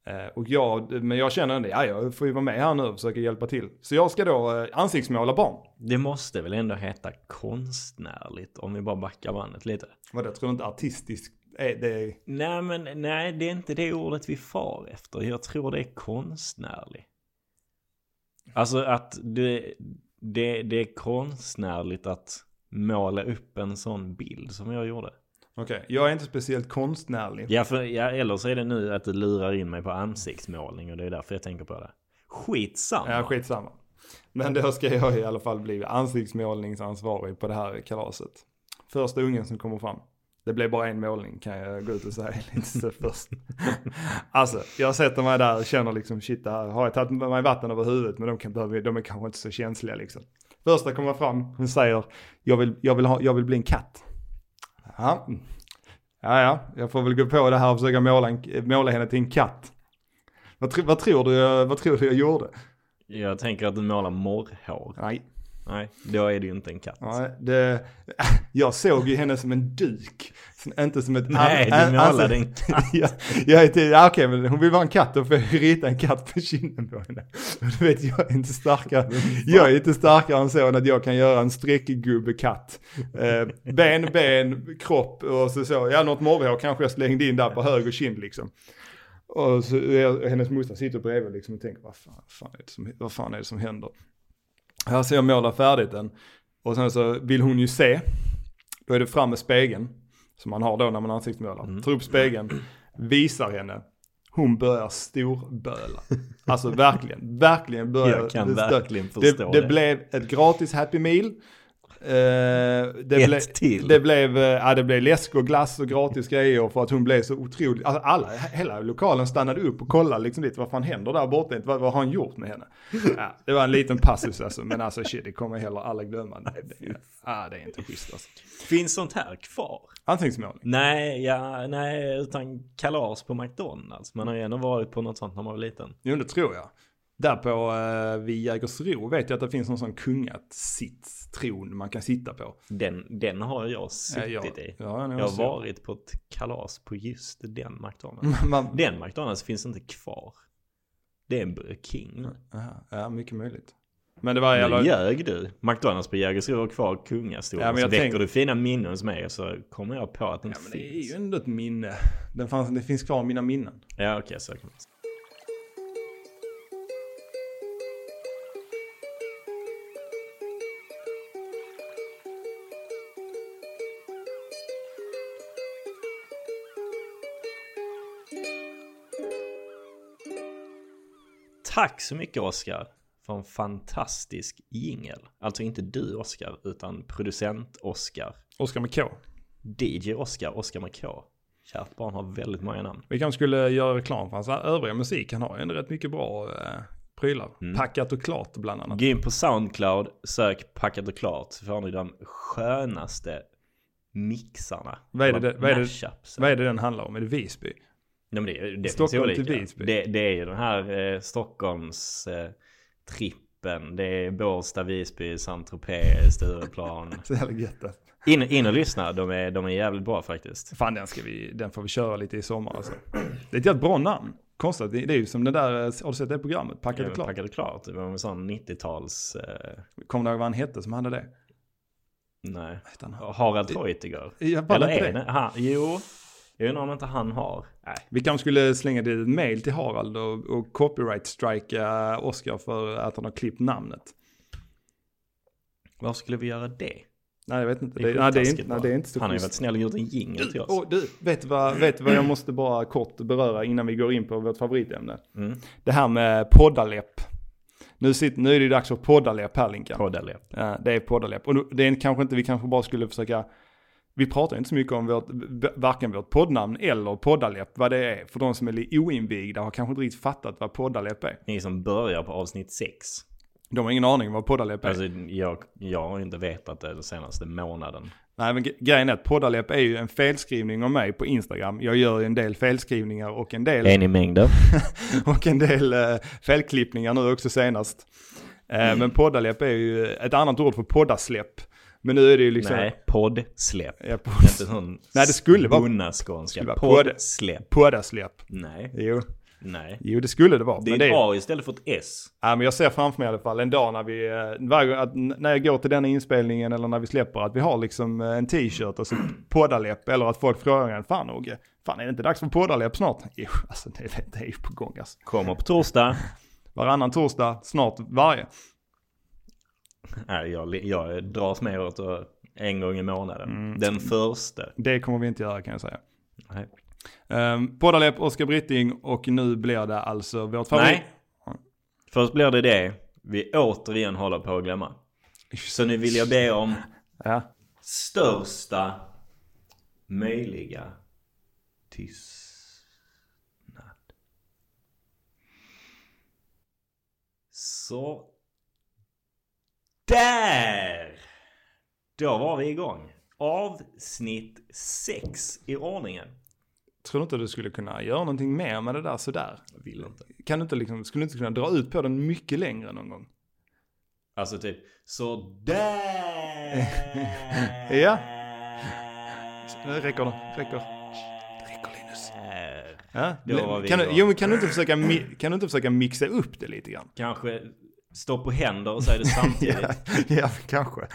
[SPEAKER 1] Eh, Och jag, men jag känner ändå, ja jag får ju vara med här nu och försöka hjälpa till. Så jag ska då eh, ansiktsmåla barn.
[SPEAKER 2] Det måste väl ändå heta konstnärligt om vi bara backar bandet lite.
[SPEAKER 1] Vadå, tror du inte artistisk är det? är-
[SPEAKER 2] Nej, men nej, det är inte det ordet vi far efter. Jag tror det är konstnärlig. Alltså att det, det, det är konstnärligt att måla upp en sån bild som jag gjorde.
[SPEAKER 1] Okej, jag är inte speciellt konstnärlig.
[SPEAKER 2] Ja, för, ja, eller så är det nu att du lurar in mig på ansiktsmålning och det är därför jag tänker på det. Skitsamma.
[SPEAKER 1] Ja, skitsamma. Men då ska jag i alla fall bli ansiktsmålningsansvarig på det här kalaset. Första ungen som kommer fram. Det blev bara en målning kan jag gå ut och säga lite så först. Alltså, jag sätter mig där och känner liksom shit, det här har jag tagit med mig vatten över huvudet men de, kan, behöva- de är kanske inte så känsliga liksom. Första kommer fram, hon säger jag vill, jag vill, ha, jag vill bli en katt. Ja. ja, ja, jag får väl gå på det här och försöka måla, en, måla henne till en katt. Vad, tro- vad, tror du, jag- vad tror du jag gjorde?
[SPEAKER 2] Jag tänker att du målar morrhår.
[SPEAKER 1] Nej,
[SPEAKER 2] Nej, då är det ju inte en katt.
[SPEAKER 1] nej det, jag såg ju henne som en duk. Inte som ett...
[SPEAKER 2] Nej,
[SPEAKER 1] an-
[SPEAKER 2] du
[SPEAKER 1] an-
[SPEAKER 2] målade
[SPEAKER 1] ansikte.
[SPEAKER 2] en katt.
[SPEAKER 1] Ja, jag är till, ja, okej, men hon vill vara en katt, då får jag rita en katt på kinden på henne. Och du vet, jag är inte starkare, jag är inte starkare än så än att jag kan göra en streckgubbe-katt. Eh, ben, ben, kropp och så, så. ja något morrhår kanske jag slängde in där på höger kind liksom. Och så, och hennes morsa sitter bredvid liksom och tänker, vad fan, fan är det som, vad fan är det som händer? Här ser jag måla färdigt den. Och sen så vill hon ju se. Då är det fram med spegeln. som man har då när man ansiktsmålar,
[SPEAKER 2] Mm.
[SPEAKER 1] tar upp spegeln, visar henne. Hon börjar storböla. Alltså verkligen, verkligen börjar.
[SPEAKER 2] Jag kan
[SPEAKER 1] det-
[SPEAKER 2] verkligen
[SPEAKER 1] det,
[SPEAKER 2] förstå
[SPEAKER 1] det.
[SPEAKER 2] det.
[SPEAKER 1] blev ett gratis Happy Meal. Eh, det
[SPEAKER 2] Ett
[SPEAKER 1] ble-
[SPEAKER 2] till.
[SPEAKER 1] Det blev, eh, ja, det blev läsk och glass och gratis grejer för att hon blev så otroligt, alltså alla, hela lokalen stannade upp och kollade liksom lite vad fan händer där borta, Inte vad, vad har han gjort med henne? Ja, det var en liten passus alltså, men alltså shit, det kommer heller alla glömma. Det, ja, det är inte schysst alltså.
[SPEAKER 2] Finns sånt här kvar?
[SPEAKER 1] Ansiktsmålning.
[SPEAKER 2] Nej, ja, nej, utan kalas på McDonalds. Man har ju ändå varit på något sånt när man var liten.
[SPEAKER 1] Jo, det tror jag. Där på eh, vid Jägersro vet jag att det finns någon sån kungatron man kan sitta på.
[SPEAKER 2] Den, den har jag
[SPEAKER 1] Ja,
[SPEAKER 2] suttit
[SPEAKER 1] jag-
[SPEAKER 2] i.
[SPEAKER 1] ja,
[SPEAKER 2] Jag har varit på ett kalas på just den McDonalds.
[SPEAKER 1] Man,
[SPEAKER 2] Den McDonalds finns inte kvar. Det är en Burger King nu.
[SPEAKER 1] Aha, ja, mycket möjligt. Men det var i
[SPEAKER 2] Nu
[SPEAKER 1] alla
[SPEAKER 2] ljög du. McDonalds på Jägersro har kvar kungastolen.
[SPEAKER 1] Ja, men
[SPEAKER 2] så
[SPEAKER 1] jag
[SPEAKER 2] väcker
[SPEAKER 1] tänk-
[SPEAKER 2] du fina minnen hos mig så kommer jag på att den
[SPEAKER 1] Ja,
[SPEAKER 2] inte
[SPEAKER 1] men det är
[SPEAKER 2] finns.
[SPEAKER 1] ju ändå ett minne. Den fanns, det finns kvar i mina minnen.
[SPEAKER 2] Ja, okej, så kan man säga. Tack så mycket Oskar för en fantastisk jingel. Alltså inte du Oskar, utan producent Oskar.
[SPEAKER 1] Oskar med K.
[SPEAKER 2] DJ Oskar, Oskar med K. Kärt barn har väldigt många namn.
[SPEAKER 1] Vi kanske skulle göra reklam för hans övriga musik. Han har ju ändå rätt mycket bra eh, prylar. Packat och klart bland annat.
[SPEAKER 2] Gå in på Soundcloud, sök Packat och klart så får ni de skönaste mixarna.
[SPEAKER 1] Vad är det-
[SPEAKER 2] Eller
[SPEAKER 1] vad är det-
[SPEAKER 2] mashups.
[SPEAKER 1] Vad är det den handlar om? Är det Visby?
[SPEAKER 2] Nej, men det, det
[SPEAKER 1] Stockholm
[SPEAKER 2] finns
[SPEAKER 1] till
[SPEAKER 2] olika.
[SPEAKER 1] Visby.
[SPEAKER 2] Det, det är ju den här eh, Stockholms eh, trippen. Det är Båstad, Visby, Saint-Tropez, Stureplan.
[SPEAKER 1] Så jävla gött det.
[SPEAKER 2] In, in och lyssna, de är, de är jävligt bra faktiskt.
[SPEAKER 1] Fan den, ska vi, den får vi köra lite i sommar alltså. Det är ett jävligt bra namn. Konstigt, det det är ju som den där, eh, har du sett det programmet? Packat och
[SPEAKER 2] Packat och
[SPEAKER 1] klart.
[SPEAKER 2] Packat och klart. Det var en sån 90-tals... Eh,
[SPEAKER 1] Kommer du ihåg vad han hette som hade det?
[SPEAKER 2] nej.
[SPEAKER 1] Hette han-
[SPEAKER 2] Harald Treutiger.
[SPEAKER 1] Jag pallar
[SPEAKER 2] Eller
[SPEAKER 1] inte
[SPEAKER 2] är
[SPEAKER 1] det.
[SPEAKER 2] det? Han, jo. Jag undrar om inte han har. Nej.
[SPEAKER 1] Vi kanske skulle slänga ett litet mail till Harald och, och copyright-strika Oscar för att han har klippt namnet.
[SPEAKER 2] Varför skulle vi göra det?
[SPEAKER 1] Nej, jag vet inte.
[SPEAKER 2] Det är
[SPEAKER 1] Det, nej, det, är, inte-
[SPEAKER 2] skittaskigt
[SPEAKER 1] nej,
[SPEAKER 2] bara.
[SPEAKER 1] det är inte så
[SPEAKER 2] Han har ju varit
[SPEAKER 1] schysst.
[SPEAKER 2] snäll och gjort en jingel till oss.
[SPEAKER 1] Och du, vet du vad, vet du vad jag måste bara kort beröra innan vi går in på vårt favoritämne?
[SPEAKER 2] Mm.
[SPEAKER 1] Det här med poddaläpp. Nu, sitter, nu är det ju dags för poddaläpp här Linkan.
[SPEAKER 2] Poddar
[SPEAKER 1] Ja, det är poddaläpp. Och nu- det är kanske inte, vi kanske bara skulle försöka, vi pratar inte så mycket om vårt, b- varken vårt poddnamn eller poddaläpp, vad det är. För de som är lite oinvigda har kanske inte riktigt fattat vad poddaläpp är.
[SPEAKER 2] Ni som börjar på avsnitt 6.
[SPEAKER 1] De har ingen aning om vad poddaläpp är.
[SPEAKER 2] Alltså jag, jag har inte vetat det den senaste månaden.
[SPEAKER 1] Nej, men gre- grejen är att poddaläpp är ju en felskrivning av mig på Instagram. Jag gör ju en del felskrivningar och en del,
[SPEAKER 2] ni mängden?
[SPEAKER 1] och en del eh, felklippningar nu också senast. Eh,
[SPEAKER 2] Mm.
[SPEAKER 1] Men poddaläpp är ju ett annat ord för poddasläpp. Men nu är det ju liksom...
[SPEAKER 2] Nej, poddsläpp.
[SPEAKER 1] Ja, podd-
[SPEAKER 2] Inte sån
[SPEAKER 1] Nej, det skulle vara-
[SPEAKER 2] spunna skånska.
[SPEAKER 1] vara podd.
[SPEAKER 2] Poddsläpp.
[SPEAKER 1] Poddasläpp.
[SPEAKER 2] Nej,
[SPEAKER 1] Jo.
[SPEAKER 2] nej.
[SPEAKER 1] jo, det skulle det vara.
[SPEAKER 2] Det är
[SPEAKER 1] men det
[SPEAKER 2] ett A istället för ett S.
[SPEAKER 1] Ja, men jag ser framför mig i alla fall en dag när vi, eh, varje gång, att n- när jag går till denna inspelningen eller när vi släpper, att vi har liksom eh, en t-shirt och så poddaläpp eller att folk frågar en, fan Åge, fan är det inte dags för poddaläpp snart? Jo, alltså det, det är ju på gång alltså.
[SPEAKER 2] Kommer på torsdag.
[SPEAKER 1] Varannan torsdag, snart varje.
[SPEAKER 2] Nej, jag, jag dras med åt att en gång i månaden.
[SPEAKER 1] Mm.
[SPEAKER 2] Den första.
[SPEAKER 1] Det kommer vi inte göra kan jag säga.
[SPEAKER 2] Nej.
[SPEAKER 1] Um, poddaläpp, Oskar Britting och nu blir det alltså vårt favorit.
[SPEAKER 2] Nej. Först blir det det vi återigen håller på att glömma. Så nu vill jag be om
[SPEAKER 1] Ja.
[SPEAKER 2] största möjliga tystnad. Så. Där! Då var vi igång. Avsnitt 6 i ordningen.
[SPEAKER 1] Tror du inte du skulle kunna göra någonting mer med det där sådär?
[SPEAKER 2] Jag vill inte.
[SPEAKER 1] Kan du inte liksom, skulle du inte kunna dra ut på den mycket längre någon gång?
[SPEAKER 2] Alltså typ så där.
[SPEAKER 1] Ja. Det räcker det, räcker. Räcker Linus. Ja,
[SPEAKER 2] Då
[SPEAKER 1] men-
[SPEAKER 2] var vi
[SPEAKER 1] kan, du,
[SPEAKER 2] igång.
[SPEAKER 1] jo, men kan, du inte försöka, mi- kan du inte försöka mixa upp det lite grann?
[SPEAKER 2] Kanske stå på händer och säga det samtidigt.
[SPEAKER 1] ja, kanske.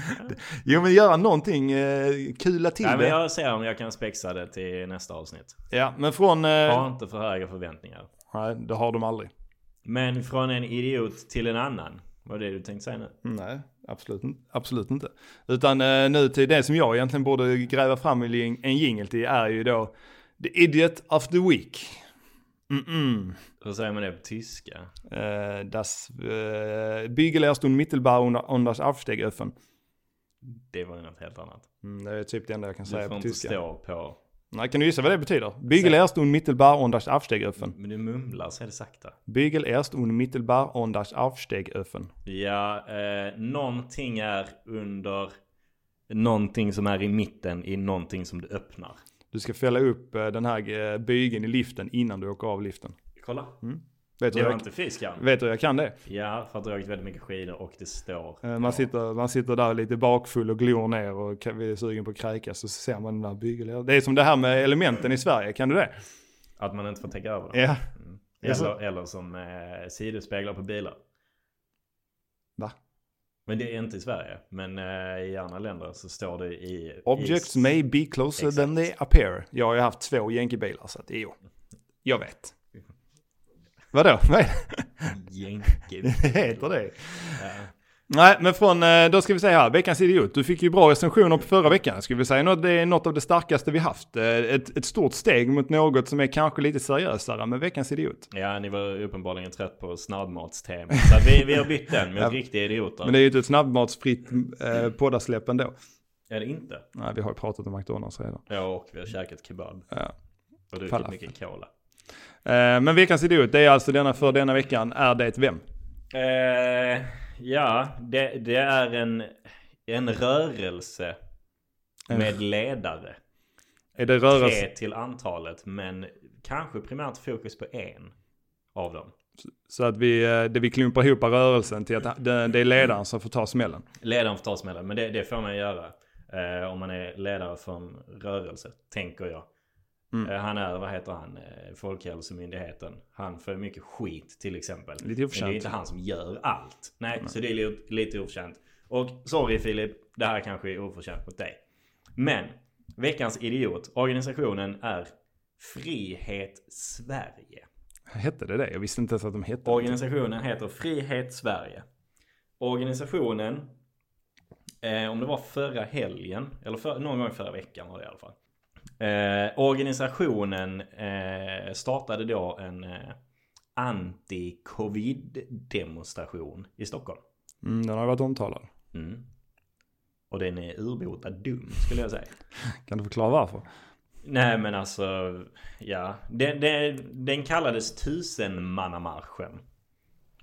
[SPEAKER 1] Jo, men göra någonting, eh, kula till
[SPEAKER 2] Nej,
[SPEAKER 1] det.
[SPEAKER 2] men jag ser om jag kan spexa det till nästa avsnitt.
[SPEAKER 1] Ja, men från... Eh,
[SPEAKER 2] Ha inte för höga förväntningar.
[SPEAKER 1] Nej, det har de aldrig.
[SPEAKER 2] Men från en idiot till en annan. Vad är det du tänkte säga nu?
[SPEAKER 1] Nej, absolut, inte- absolut inte. Utan eh, nu till det som jag egentligen borde gräva fram en jing- en jingle till är ju då The Idiot of the Week. Mm-mm.
[SPEAKER 2] Hur säger man det på tyska?
[SPEAKER 1] Eh, das eh, Bygelerston Mittelbau under, unders Aufsteigeöffen.
[SPEAKER 2] Det var ju något helt annat.
[SPEAKER 1] Mm, det är typ det enda jag kan
[SPEAKER 2] Du
[SPEAKER 1] säga
[SPEAKER 2] får
[SPEAKER 1] på
[SPEAKER 2] inte
[SPEAKER 1] tyska.
[SPEAKER 2] stå på...
[SPEAKER 1] Nej, kan du gissa vad det betyder? Bygelerston Mittelbau unders Aufsteigeöffen.
[SPEAKER 2] Men du mumlar så är det sakta.
[SPEAKER 1] Bygelerston Mittelbau unders Aufsteigeöffen.
[SPEAKER 2] Ja, eh, någonting är under... Någonting som är i mitten i någonting som du öppnar.
[SPEAKER 1] Du ska fälla upp eh, den här eh, bygeln i liften innan du åker av liften.
[SPEAKER 2] Kolla.
[SPEAKER 1] Vet du
[SPEAKER 2] Det
[SPEAKER 1] hur
[SPEAKER 2] var
[SPEAKER 1] jag,
[SPEAKER 2] inte fiskan.
[SPEAKER 1] vet du hur jag kan det?
[SPEAKER 2] Ja, för att jag har åkt väldigt mycket skidor och det står...
[SPEAKER 1] Eh, Man sitter, man sitter där lite bakfull och glor ner och ka- är sugen på att kräkas så ser man den där bygeln. Det är som det här med elementen i Sverige, kan du det?
[SPEAKER 2] Att man inte får tänka över det.
[SPEAKER 1] Ja. Det är så.
[SPEAKER 2] Eller, eller som eh, sidospeglar på bilar.
[SPEAKER 1] Va?
[SPEAKER 2] Men det är inte i Sverige. Men eh, i andra länder så står det i...
[SPEAKER 1] Objects
[SPEAKER 2] i,
[SPEAKER 1] may be closer than they appear. Jag har ju haft två jänkebilar så att jo, jag vet. Vadå? Vad är
[SPEAKER 2] Jänke.
[SPEAKER 1] det? heter det?
[SPEAKER 2] Ja.
[SPEAKER 1] Nej, men från, eh, då ska vi säga här, veckans idiot. Du fick ju bra recensioner på förra veckan. Ska vi säga något, det är något av det starkaste vi haft. Eh, Ett, ett stort steg mot något som är kanske lite seriösare, men veckans idiot.
[SPEAKER 2] Ja, ni var uppenbarligen trött på snabbmatstemat. Så att vi, vi har bytt den mot
[SPEAKER 1] Ja.
[SPEAKER 2] riktiga idioter.
[SPEAKER 1] Men det är ju inte ett snabbmatsfritt eh, poddasläpp ändå.
[SPEAKER 2] Är det inte?
[SPEAKER 1] Nej, vi har ju pratat om McDonalds redan.
[SPEAKER 2] Ja, och vi har käkat kebab.
[SPEAKER 1] Ja.
[SPEAKER 2] Och druckit
[SPEAKER 1] Falafel.
[SPEAKER 2] mycket cola.
[SPEAKER 1] Eh, men veckans idiot, det är alltså denna för denna veckan, är det ett vem?
[SPEAKER 2] Eh, ja, det, det är en, en rörelse
[SPEAKER 1] En-
[SPEAKER 2] med ledare.
[SPEAKER 1] Är det rörelse?
[SPEAKER 2] Tre till antalet, men kanske primärt fokus på en av dem.
[SPEAKER 1] Så att vi, eh, det vi klumpar ihop rörelsen till att det, det är ledaren som får ta smällen.
[SPEAKER 2] Ledaren får ta smällen, men det, det får man göra. Eh, om man är ledare för en rörelse, tänker jag.
[SPEAKER 1] Mm.
[SPEAKER 2] Eh, han är, vad heter han, eh, Folkhälsomyndigheten. Han får mycket skit till exempel.
[SPEAKER 1] Lite oförtjänt.
[SPEAKER 2] Men det är inte han som gör allt. Nej, så det är li- lite oförtjänt. Och sorry Filip, det här kanske är oförtjänt mot dig. Men, veckans idiot. Organisationen är Frihet Sverige.
[SPEAKER 1] Hette det det? Jag visste inte ens att de hette det.
[SPEAKER 2] Organisationen heter Frihet Sverige. Organisationen, eh, om det var förra helgen, eller för, någon gång förra veckan var det i alla fall. Eh, organisationen eh, startade då en eh, anti-covid-demonstration i Stockholm.
[SPEAKER 1] Mm, den har varit omtalad.
[SPEAKER 2] Mm. Och den är urbota dum skulle jag säga.
[SPEAKER 1] Kan du förklara varför?
[SPEAKER 2] Nej men alltså, ja. Den, den, den kallades tusenmannamarschen.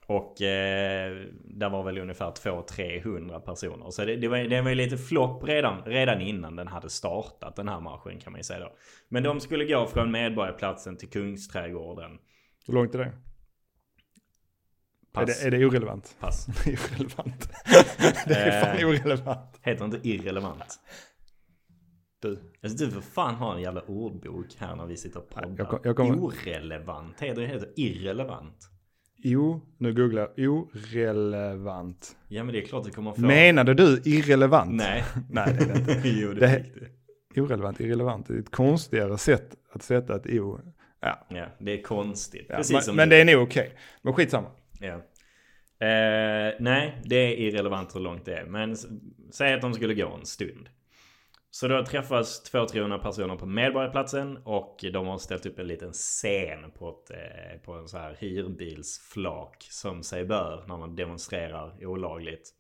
[SPEAKER 2] Och eh, där var väl ungefär 200-300 personer. Så det, det var, den var ju lite flopp redan, redan innan den hade startat den här marschen kan man ju säga då. Men de skulle gå från Medborgarplatsen till Kungsträdgården.
[SPEAKER 1] Hur långt är det? Är
[SPEAKER 2] Pass.
[SPEAKER 1] det, är det irrelevant?
[SPEAKER 2] Pass.
[SPEAKER 1] Det är irrelevant. det är fan
[SPEAKER 2] Eh.
[SPEAKER 1] irrelevant.
[SPEAKER 2] Heter inte irrelevant.
[SPEAKER 1] Du.
[SPEAKER 2] Alltså du för fan har en jävla ordbok här när vi sitter och poddar.
[SPEAKER 1] Jag kom- jag kommer-
[SPEAKER 2] Orelevant heter det, heter irrelevant.
[SPEAKER 1] Jo, nu googlar jag. Orelevant.
[SPEAKER 2] Ja men det är klart du kommer få.
[SPEAKER 1] Menade du irrelevant?
[SPEAKER 2] Nej.
[SPEAKER 1] Nej, det är det inte.
[SPEAKER 2] jo, det,
[SPEAKER 1] Det-
[SPEAKER 2] fick du.
[SPEAKER 1] Irrelevant, irrelevant. Det är ett konstigare sätt att sätta ett O. Ja,
[SPEAKER 2] Ja, det är konstigt.
[SPEAKER 1] ja.
[SPEAKER 2] Precis
[SPEAKER 1] men,
[SPEAKER 2] som
[SPEAKER 1] men
[SPEAKER 2] du.
[SPEAKER 1] det är nog okej. Men skitsamma.
[SPEAKER 2] Ja. Eh, nej, det är irrelevant hur långt det är. Men s- säg att de skulle gå en stund. Så då träffas 200-300 personer på Medborgarplatsen och de har ställt upp en liten scen på, ett, eh, på en så här hyrbilsflak som sig bör när man demonstrerar olagligt.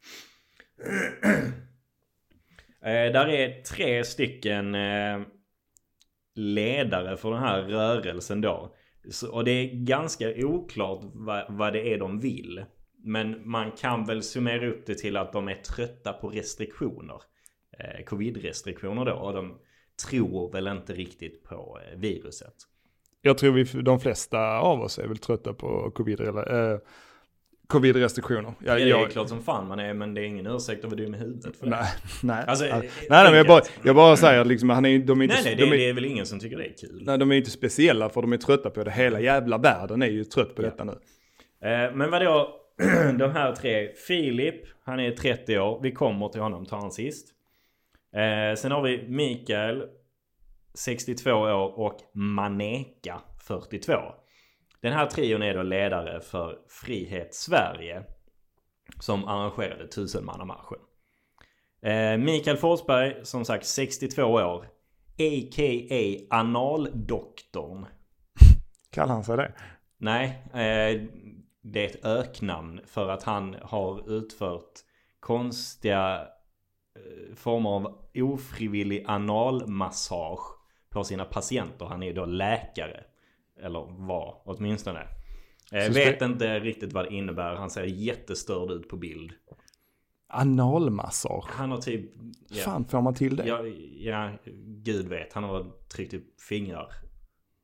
[SPEAKER 2] eh, där är tre stycken eh, ledare för den här rörelsen då. Så, och det är ganska oklart vad, vad det är de vill. Men man kan väl summera upp det till att de är trötta på restriktioner. Eh, Covid-restriktioner då. Och de tror väl inte riktigt på eh, viruset.
[SPEAKER 1] Jag tror vi, de flesta av oss är väl trötta på covid, eller, eh, covid-restriktioner. Jag,
[SPEAKER 2] det är
[SPEAKER 1] jag,
[SPEAKER 2] klart som fan man är men det är ingen ursäkt att vara dum i huvudet för det.
[SPEAKER 1] nej, nej.
[SPEAKER 2] Alltså,
[SPEAKER 1] nej, nej,
[SPEAKER 2] enkelt.
[SPEAKER 1] men jag, bara, jag bara säger att liksom, han är, ju- de är inte...
[SPEAKER 2] Nej nej det,
[SPEAKER 1] de är,
[SPEAKER 2] det är väl ingen som tycker det är kul.
[SPEAKER 1] Nej, de är ju inte speciella för de är trötta på det. Hela jävla världen är ju trött på detta nu.
[SPEAKER 2] Eh, Men vadå, de här tre. Filip, han är 30 år. Vi kommer till honom, tar han sist. Eh, Sen har vi Mikael, 62 år och Maneka, 42. Den här trion är då ledare för Frihet Sverige. som arrangerade tusenmannamarschen. Eh, Mikael Forsberg, som sagt 62 år. A.k.a. Analdoktorn.
[SPEAKER 1] Kallar han sig det?
[SPEAKER 2] Nej, eh, det är ett öknamn för att han har utfört konstiga eh, former av ofrivillig analmassage på sina patienter. Han är då läkare. Eller var åtminstone. Eh,
[SPEAKER 1] Så
[SPEAKER 2] vet
[SPEAKER 1] ska-
[SPEAKER 2] inte riktigt vad det innebär. Han ser jättestörd ut på bild.
[SPEAKER 1] Analmassage.
[SPEAKER 2] Han har typ... ja.
[SPEAKER 1] Fan får man till det?
[SPEAKER 2] Ja, ja, gud vet. Han har tryckt upp fingrar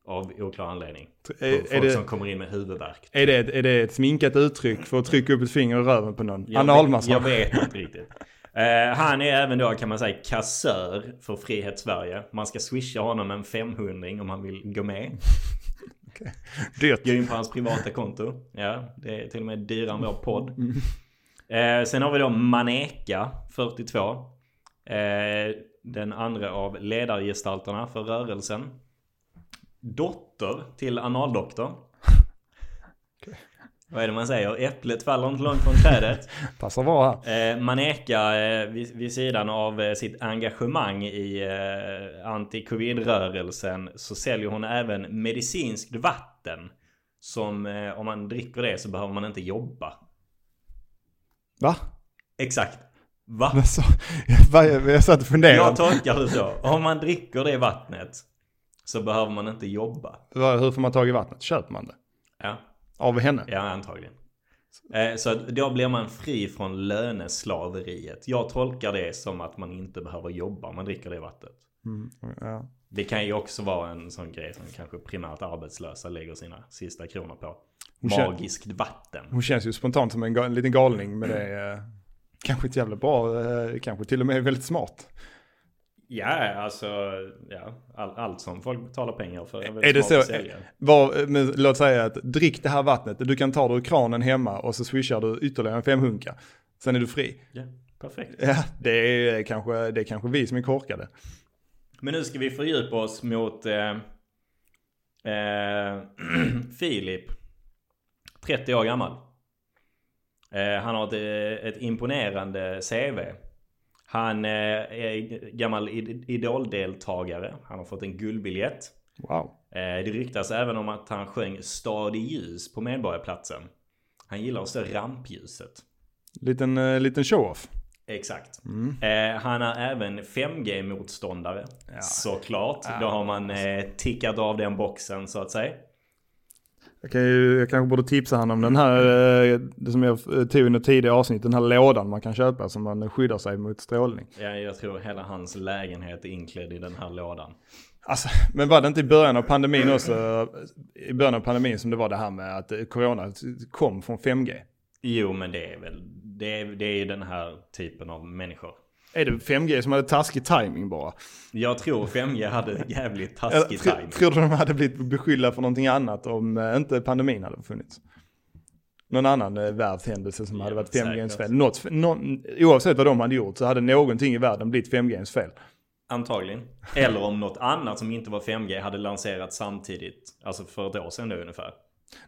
[SPEAKER 2] av oklar anledning.
[SPEAKER 1] Är-
[SPEAKER 2] På
[SPEAKER 1] är
[SPEAKER 2] folk
[SPEAKER 1] det-
[SPEAKER 2] som kommer in med huvudvärk.
[SPEAKER 1] Är, det ett, är det ett sminkat uttryck för att trycka upp ett finger i röven på någon?
[SPEAKER 2] Jag vet-
[SPEAKER 1] Analmassage.
[SPEAKER 2] Jag vet inte riktigt. Eh, han är även då kan man säga kassör för Frihet Sverige. Man ska swisha honom en 500 om han vill gå med. Gå
[SPEAKER 1] eh, Dyrt.
[SPEAKER 2] in på hans privata konto. Ja, det är till och med dyrare än vår podd. Eh, sen har vi då Maneka, 42. Eh, den andra av ledargestalterna för rörelsen. Dotter till analdoktorn. Vad är det man säger? Äpplet faller inte långt från trädet.
[SPEAKER 1] Passar bra här.
[SPEAKER 2] Eh, Maneka eh, vid, vid sidan av eh, sitt engagemang i eh, anti-covid-rörelsen så säljer hon även medicinskt vatten. Som eh, om man dricker det så behöver man inte jobba.
[SPEAKER 1] Va?
[SPEAKER 2] Exakt. Va?
[SPEAKER 1] Alltså, jag, jag satt och
[SPEAKER 2] Jag
[SPEAKER 1] funderade.
[SPEAKER 2] tolkar det så. Om man dricker det vattnet så behöver man inte jobba.
[SPEAKER 1] Vad- Hur får man tag i vattnet? Köper man det?
[SPEAKER 2] Ja,
[SPEAKER 1] Av henne?
[SPEAKER 2] ja antagligen. Eh, Så att då blir man fri från löneslaveriet. Jag tolkar det som att man inte behöver jobba om man dricker det vattnet.
[SPEAKER 1] Mm, ja.
[SPEAKER 2] Det kan ju också vara en sån grej som kanske primärt arbetslösa lägger sina sista kronor på.
[SPEAKER 1] Hon känner-
[SPEAKER 2] Magiskt vatten.
[SPEAKER 1] Hon känns ju spontant som en, ga- en liten galning men det. Är, eh, kanske inte jävla bra. Eh, kanske till och med väldigt smart.
[SPEAKER 2] Ja, alltså ja, all, allt som folk betalar pengar för är väl
[SPEAKER 1] Är det
[SPEAKER 2] smart att
[SPEAKER 1] så-
[SPEAKER 2] sälja.
[SPEAKER 1] Var, eh, men, låt säga att drick det här vattnet. Du kan ta det ur kranen hemma och så swishar du ytterligare en femhunka. Sen är du fri.
[SPEAKER 2] Ja, perfekt.
[SPEAKER 1] Ja, det är kanske, det är kanske vi som är korkade.
[SPEAKER 2] Men nu ska vi fördjupa oss mot eh, eh, Filip. 30 år gammal. Eh, han har ett, eh, ett imponerande CV. Han eh, är gammal id- idoldeltagare. Han har fått en guldbiljett.
[SPEAKER 1] Wow.
[SPEAKER 2] Eh, det ryktas även om att han sjöng Stad i ljus på Medborgarplatsen. Han gillar att se rampljuset.
[SPEAKER 1] Liten, eh, liten show-off.
[SPEAKER 2] Exakt.
[SPEAKER 1] Mm.
[SPEAKER 2] Eh, han är även 5G-motståndare.
[SPEAKER 1] Ja.
[SPEAKER 2] Såklart.
[SPEAKER 1] Ja.
[SPEAKER 2] Då har man eh, tickat av den boxen så att säga.
[SPEAKER 1] Jag, kan ju, jag kanske borde tipsa honom om den här, eh, det som jag eh, tog i något tidigare avsnitt, den här lådan man kan köpa som man skyddar sig mot strålning.
[SPEAKER 2] Ja, jag tror hela hans lägenhet är inklädd i den här lådan.
[SPEAKER 1] Alltså, men var det inte i början av pandemin också, eh, i början av pandemin som det var det här med att eh, corona kom från 5G?
[SPEAKER 2] Jo, men det är väl... Det är, det är ju den här typen av människor.
[SPEAKER 1] Är det 5G som hade taskig timing bara?
[SPEAKER 2] Jag tror 5G hade jävligt
[SPEAKER 1] Eller,
[SPEAKER 2] taskig
[SPEAKER 1] tro-
[SPEAKER 2] timing.
[SPEAKER 1] Tror du de hade blivit beskyllda för någonting annat om eh, inte pandemin hade funnits? Någon annan eh, världshändelse som
[SPEAKER 2] Ja,
[SPEAKER 1] hade varit 5Gs
[SPEAKER 2] säkert.
[SPEAKER 1] fel. Något, någon, oavsett vad de hade gjort så hade någonting i världen blivit 5Gs fel.
[SPEAKER 2] Antagligen. Eller om något annat som inte var 5G hade lanserats samtidigt. Alltså för ett år sedan då ungefär.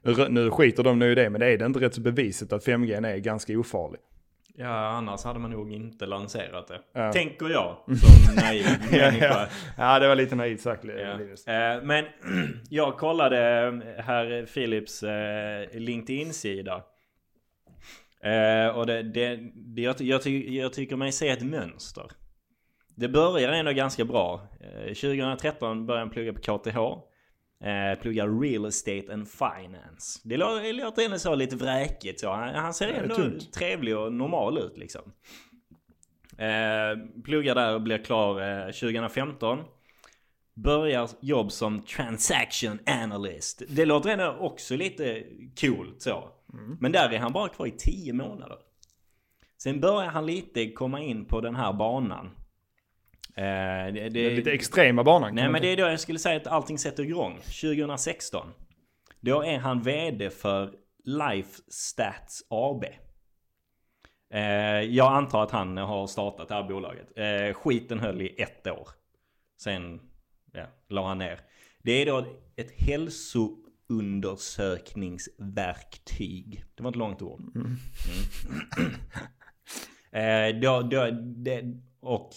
[SPEAKER 1] Nu, rö- nu skiter de nu i det, men det är det inte rätt så beviset att 5G är ganska ofarlig.
[SPEAKER 2] Ja, annars hade man nog inte lanserat det.
[SPEAKER 1] Ja.
[SPEAKER 2] Tänker jag som naiv människa.
[SPEAKER 1] ja, det var lite naivt sagt
[SPEAKER 2] Ja.
[SPEAKER 1] Linus.
[SPEAKER 2] Eh, Men jag kollade herr Philips eh, LinkedIn-sida. Eh, Och det, det, det, jag, ty- jag, ty, jag tycker mig se ett mönster. Det börjar ändå ganska bra. Eh, 2013 började han plugga på KTH. Eh, Plugga Real Estate and Finance. Det lå- det låter ändå så lite vräkigt. Så han, han
[SPEAKER 1] Ja, det
[SPEAKER 2] ser
[SPEAKER 1] är
[SPEAKER 2] ändå
[SPEAKER 1] tungt.
[SPEAKER 2] trevlig och normal ut liksom. Eh, pluggar där och blir klar eh, 2015. Börjar jobb som transaction analyst. Det låter ändå också lite coolt så. Men där är han bara kvar i 10 månader. Sen börjar han lite komma in på den här banan. Eh, det,
[SPEAKER 1] Det är
[SPEAKER 2] det,
[SPEAKER 1] lite extrema banan. kan
[SPEAKER 2] nej
[SPEAKER 1] man
[SPEAKER 2] men det
[SPEAKER 1] tänka.
[SPEAKER 2] är då jag skulle säga att allting sätter igång. 2016. Då är han VD för Life Stats AB. Eh, jag antar att han har startat det här bolaget. Eh, skiten höll i ett år. Sen ja, la han ner. Det är då ett hälso undersökningsverktyg. Det var ett långt ord. Mm. eh, då, då, det, och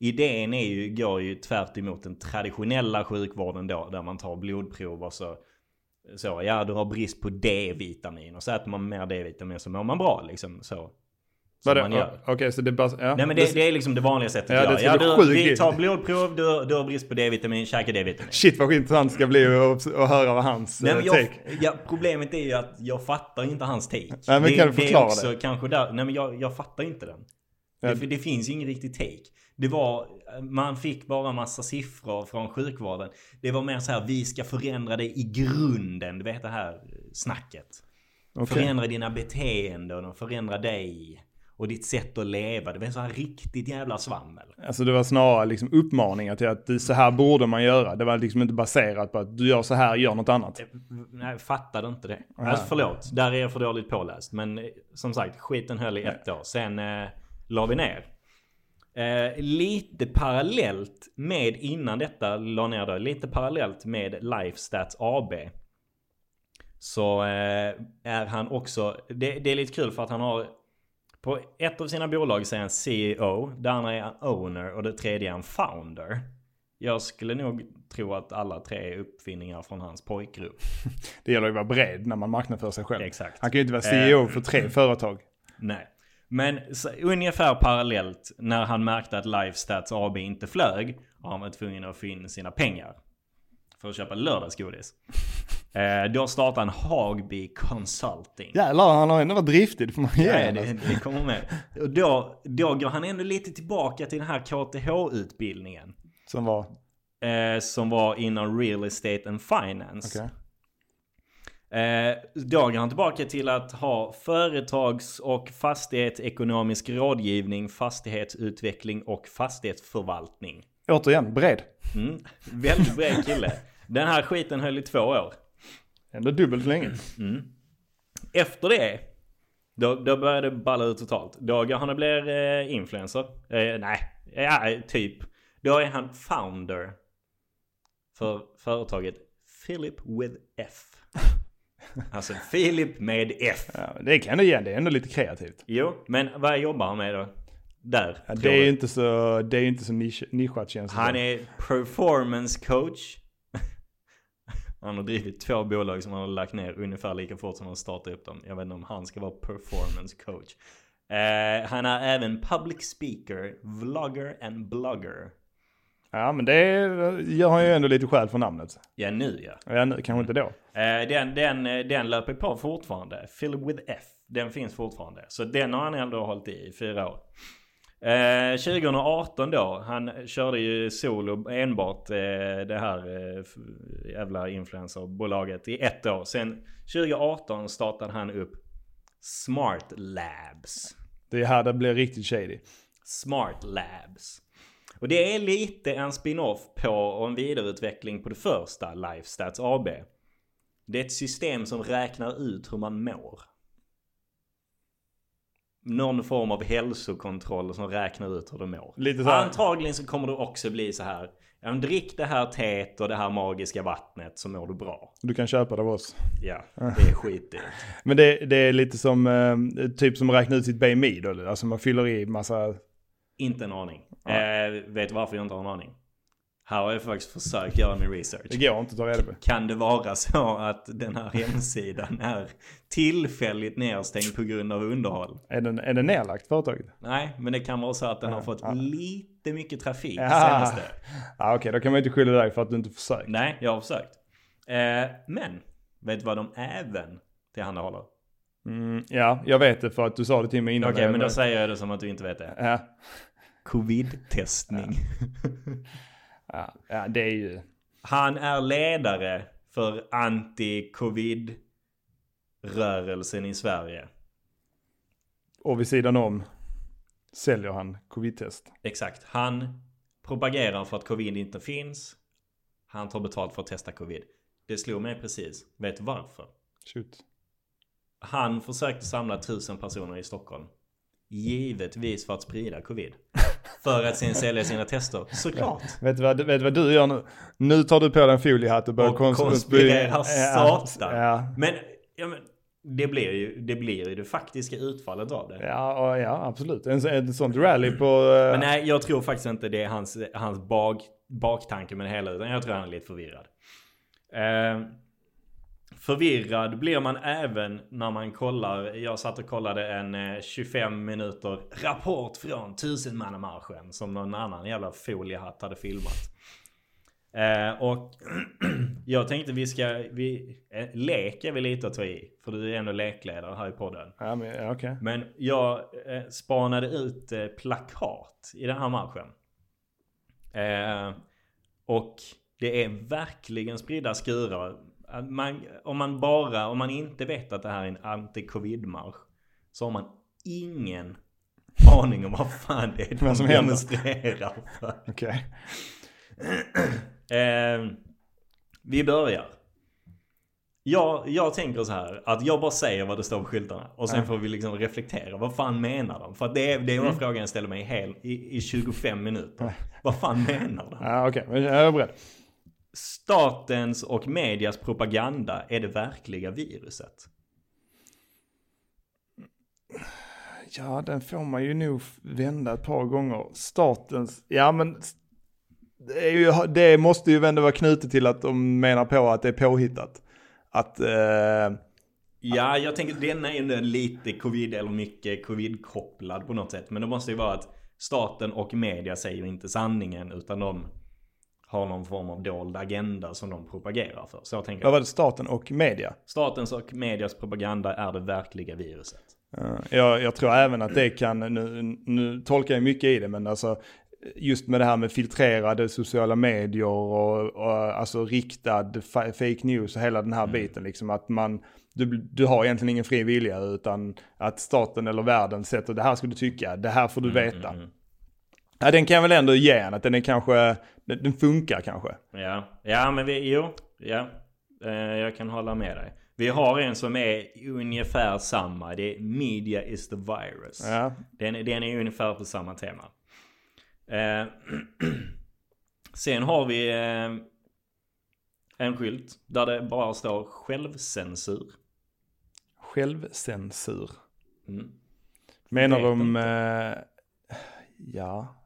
[SPEAKER 2] idén är ju, går ju tvärt emot den traditionella sjukvården då, där man tar blodprov och så, så ja du har brist på D-vitamin och så äter man mer D-vitamin så mår man bra liksom. Så. Som
[SPEAKER 1] Vadå?
[SPEAKER 2] man gör.
[SPEAKER 1] Okej, så det är bara... Ja.
[SPEAKER 2] Nej men det, det är liksom det vanliga sättet
[SPEAKER 1] Ja, det
[SPEAKER 2] att
[SPEAKER 1] ska
[SPEAKER 2] göra.
[SPEAKER 1] bli
[SPEAKER 2] Ja, du,
[SPEAKER 1] sjukt.
[SPEAKER 2] vi tar blodprov, du, du har brist på D-vitamin, käka D-vitamin.
[SPEAKER 1] Shit vad intressant det ska bli att att höra vad hans
[SPEAKER 2] Nej,
[SPEAKER 1] eh,
[SPEAKER 2] men
[SPEAKER 1] take.
[SPEAKER 2] jag, ja, problemet är ju att jag fattar inte hans take.
[SPEAKER 1] men
[SPEAKER 2] det,
[SPEAKER 1] kan du förklara
[SPEAKER 2] är också
[SPEAKER 1] det?
[SPEAKER 2] Kanske där, nej men jag, jag fattar inte den.
[SPEAKER 1] Ja.
[SPEAKER 2] Det, det finns ju ingen riktig take. Det var, man fick bara massa siffror från sjukvården. Det var mer så här, vi ska förändra dig i grunden. Du vet det här snacket.
[SPEAKER 1] Okej.
[SPEAKER 2] Förändra dina beteenden och förändra dig. Och ditt sätt att leva. Det var en sån här riktigt jävla svammel.
[SPEAKER 1] Alltså det var snarare liksom uppmaningar till att det- så här borde man göra. Det var liksom inte baserat på att du gör så här, gör något annat.
[SPEAKER 2] typ, Nej, jag fattade inte det. Alltså förlåt, där är jag för dåligt påläst. Men eh, som sagt, skiten höll i ett år. Sen eh, la vi ner. Eh, lite parallellt med, innan detta la ner då, lite parallellt med Lifestats AB. Så eh, är han också, det, det är lite kul för att han har på ett av sina bolag så är han CEO, det andra är han owner och det tredje är han founder. Jag skulle nog tro att alla tre är uppfinningar från hans pojkgrupp.
[SPEAKER 1] Det gäller ju att vara bred när man marknadsför sig själv.
[SPEAKER 2] Exakt.
[SPEAKER 1] Han kan ju inte vara CEO för tre företag.
[SPEAKER 2] Nej. Men så, ungefär parallellt när han märkte att Lifestats AB inte flög har han varit tvungen att få in sina pengar för att köpa lördagsgodis. Eh, då startade han Hagby Consulting.
[SPEAKER 1] Jävlar, han har ändå varit driftig, det får man ge
[SPEAKER 2] Nej,
[SPEAKER 1] honom.
[SPEAKER 2] det, det kommer med. Och då, då går han ändå lite tillbaka till den här KTH-utbildningen.
[SPEAKER 1] Som var...
[SPEAKER 2] Eh, som var inom real estate and finance.
[SPEAKER 1] Okej.
[SPEAKER 2] Eh, då går han tillbaka till att ha företags och fastighetsekonomisk rådgivning, fastighetsutveckling och fastighetsförvaltning.
[SPEAKER 1] Återigen, bred.
[SPEAKER 2] Mm. Väldigt bred kille. Den här skiten höll i två år.
[SPEAKER 1] Ändå dubbelt länge.
[SPEAKER 2] Efter det, då, då börjar det balla ut totalt. Då går han och blir eh, influencer. Eh, nej, ja, typ. Då är han founder för företaget Philip with F. Alltså Philip med F.
[SPEAKER 1] Ja, men det kan du igen, det är ändå lite kreativt.
[SPEAKER 2] Jo, men vad jobbar han med då? Där,
[SPEAKER 1] Ja,
[SPEAKER 2] tror
[SPEAKER 1] det är ju
[SPEAKER 2] du.
[SPEAKER 1] inte så, det är ju inte så nisch, nischat känns det
[SPEAKER 2] Han
[SPEAKER 1] som.
[SPEAKER 2] är performance coach. Han har drivit två bolag som han har lagt ner ungefär lika fort som han startade upp dem. Jag vet inte om han ska vara performance coach. Eh, han är även public speaker, vlogger and blogger.
[SPEAKER 1] Ja, men det är- gör han ju ändå lite skäl för namnet.
[SPEAKER 2] Ja, nu ja.
[SPEAKER 1] Ja, nu, kanske inte då.
[SPEAKER 2] Eh, den, den, eh, den löper på fortfarande. Philip with F. Den finns fortfarande. Så den har han ändå hållit i i fyra år. Eh, 2018 då, han körde ju solo enbart eh, det här eh, f- jävla influencerbolaget i ett år. Sen 2018 startade han upp Smart Labs.
[SPEAKER 1] Det är här det blir riktigt shady.
[SPEAKER 2] Smart Labs. Och det är lite en spin-off på och en vidareutveckling på det första Lifestats AB. Det är ett system som räknar ut hur man mår. Någon form av hälsokontroll som räknar ut hur du mår.
[SPEAKER 1] Lite så här-
[SPEAKER 2] Antagligen så kommer det också bli så här. ja, men Drick det här teet och det här magiska vattnet så mår du bra.
[SPEAKER 1] Du kan köpa det av oss.
[SPEAKER 2] Ja, det är skitdyrt.
[SPEAKER 1] Men det, det är lite som, eh, typ som räkna ut sitt BMI då. Alltså man fyller i massa...
[SPEAKER 2] Inte en aning. Eh, vet du varför jag inte har en aning? Här har jag faktiskt försökt göra min research.
[SPEAKER 1] Det går inte att ta reda på.
[SPEAKER 2] Kan det vara så att den här hemsidan är tillfälligt nedstängd på grund av underhåll?
[SPEAKER 1] Är den, är den nedlagt företaget?
[SPEAKER 2] Nej, men det kan vara så att den har fått lite mycket trafik det
[SPEAKER 1] Ja.
[SPEAKER 2] senaste.
[SPEAKER 1] Ja, okej, då kan man ju inte skylla dig för att du inte försökt.
[SPEAKER 2] Nej, jag har försökt. Eh, men, vet du vad de även tillhandahåller?
[SPEAKER 1] Mm, ja, jag vet det för att du sa det till mig innan.
[SPEAKER 2] Okej, men då säger jag det som att du inte vet det.
[SPEAKER 1] ja,
[SPEAKER 2] Covid-testning.
[SPEAKER 1] ja, ja, det är ju...
[SPEAKER 2] Han är ledare för anti-covid-rörelsen i Sverige.
[SPEAKER 1] Och vid sidan om säljer han covid-test.
[SPEAKER 2] Exakt. Han propagerar för att covid inte finns. Han tar betalt för att testa covid. Det slog mig precis. Vet du varför?
[SPEAKER 1] Shoot.
[SPEAKER 2] Han försökte samla tusen personer i Stockholm. Givetvis för att sprida covid. För att sen sälja sina tester. Såklart.
[SPEAKER 1] Vet du vad, vet du, vad du gör nu? Nu tar du på dig en foliehatt och börjar
[SPEAKER 2] Och
[SPEAKER 1] kons-
[SPEAKER 2] konspirerar
[SPEAKER 1] ja,
[SPEAKER 2] satan.
[SPEAKER 1] Ja,
[SPEAKER 2] Men, ja, men det, blir ju, det blir ju det faktiska utfallet av det.
[SPEAKER 1] ja, och- ja absolut. En, en sån rally på... eh,
[SPEAKER 2] Men nej, jag tror faktiskt inte det är hans, hans bak, baktanke med det hela. Utan jag tror han är lite förvirrad. Eh, förvirrad blir man även när man kollar. Jag satt och kollade en eh, 25 minuter rapport från tusenmannamarschen. Som någon annan jävla foliehatt hade filmat. Eh, och jag tänkte vi ska... Vi, eh, lek är vi lite att ta i. För du är ändå lekledare här i podden.
[SPEAKER 1] Ja, men ja, okej.
[SPEAKER 2] Men jag eh, spanade ut eh, plakat i den här matchen. Eh, och det är verkligen spridda skurar. Att Man, om man bara, om man inte vet att det här är en anti-covid-marsch så har man ingen aning om vad fan det är
[SPEAKER 1] Vad som
[SPEAKER 2] de
[SPEAKER 1] händer.
[SPEAKER 2] demonstrerar för.
[SPEAKER 1] Okej.
[SPEAKER 2] Eh, vi börjar. Jag, jag tänker så här att jag bara säger vad det står på skyltarna och sen
[SPEAKER 1] Ja. Mm.
[SPEAKER 2] får vi liksom reflektera. Vad fan menar de? För att det är, det är den frågan jag ställer mig i, hel, i, i 25 minuter. Vad fan menar de?
[SPEAKER 1] Ja, okej. Men Jag är beredd.
[SPEAKER 2] Statens och medias propaganda är det verkliga viruset.
[SPEAKER 1] Ja, den får man ju nog vända ett par gånger. Statens... Ja, men... Det, är ju, det måste ju ändå vara knutet till att de menar på att det är påhittat. Att... Eh,
[SPEAKER 2] Ja, jag tänker denna är ändå lite covid eller mycket covid-kopplad på något sätt. Men det måste ju vara att staten och media säger inte sanningen utan de har någon form av dold agenda som de propagerar för. Så jag tänker
[SPEAKER 1] vad
[SPEAKER 2] jag.
[SPEAKER 1] var det? Staten och media.
[SPEAKER 2] Statens och medias propaganda är det verkliga viruset.
[SPEAKER 1] Eh, Jag, jag tror även att det kan, nu, nu tolkar jag mycket i det, men alltså just med det här med filtrerade sociala medier och, och alltså riktad fa- fake news och hela den här biten liksom att man, du, du har egentligen ingen fri vilja utan att staten eller världen sätter det här ska du tycka, det här får du veta. Ja, den kan jag väl ändå ge en, att den är kanske, den, den funkar kanske.
[SPEAKER 2] Ja, ja men vi, jo, ja. Eh, jag kan hålla med dig. Vi har en som är ungefär samma. Det är media is the virus.
[SPEAKER 1] Ja.
[SPEAKER 2] Den, den är ungefär på samma tema. Eh, sen har vi eh, en skylt där det bara står självcensur.
[SPEAKER 1] Självcensur.
[SPEAKER 2] Mm.
[SPEAKER 1] Menar
[SPEAKER 2] Vet
[SPEAKER 1] de...
[SPEAKER 2] inte.
[SPEAKER 1] Eh, ja.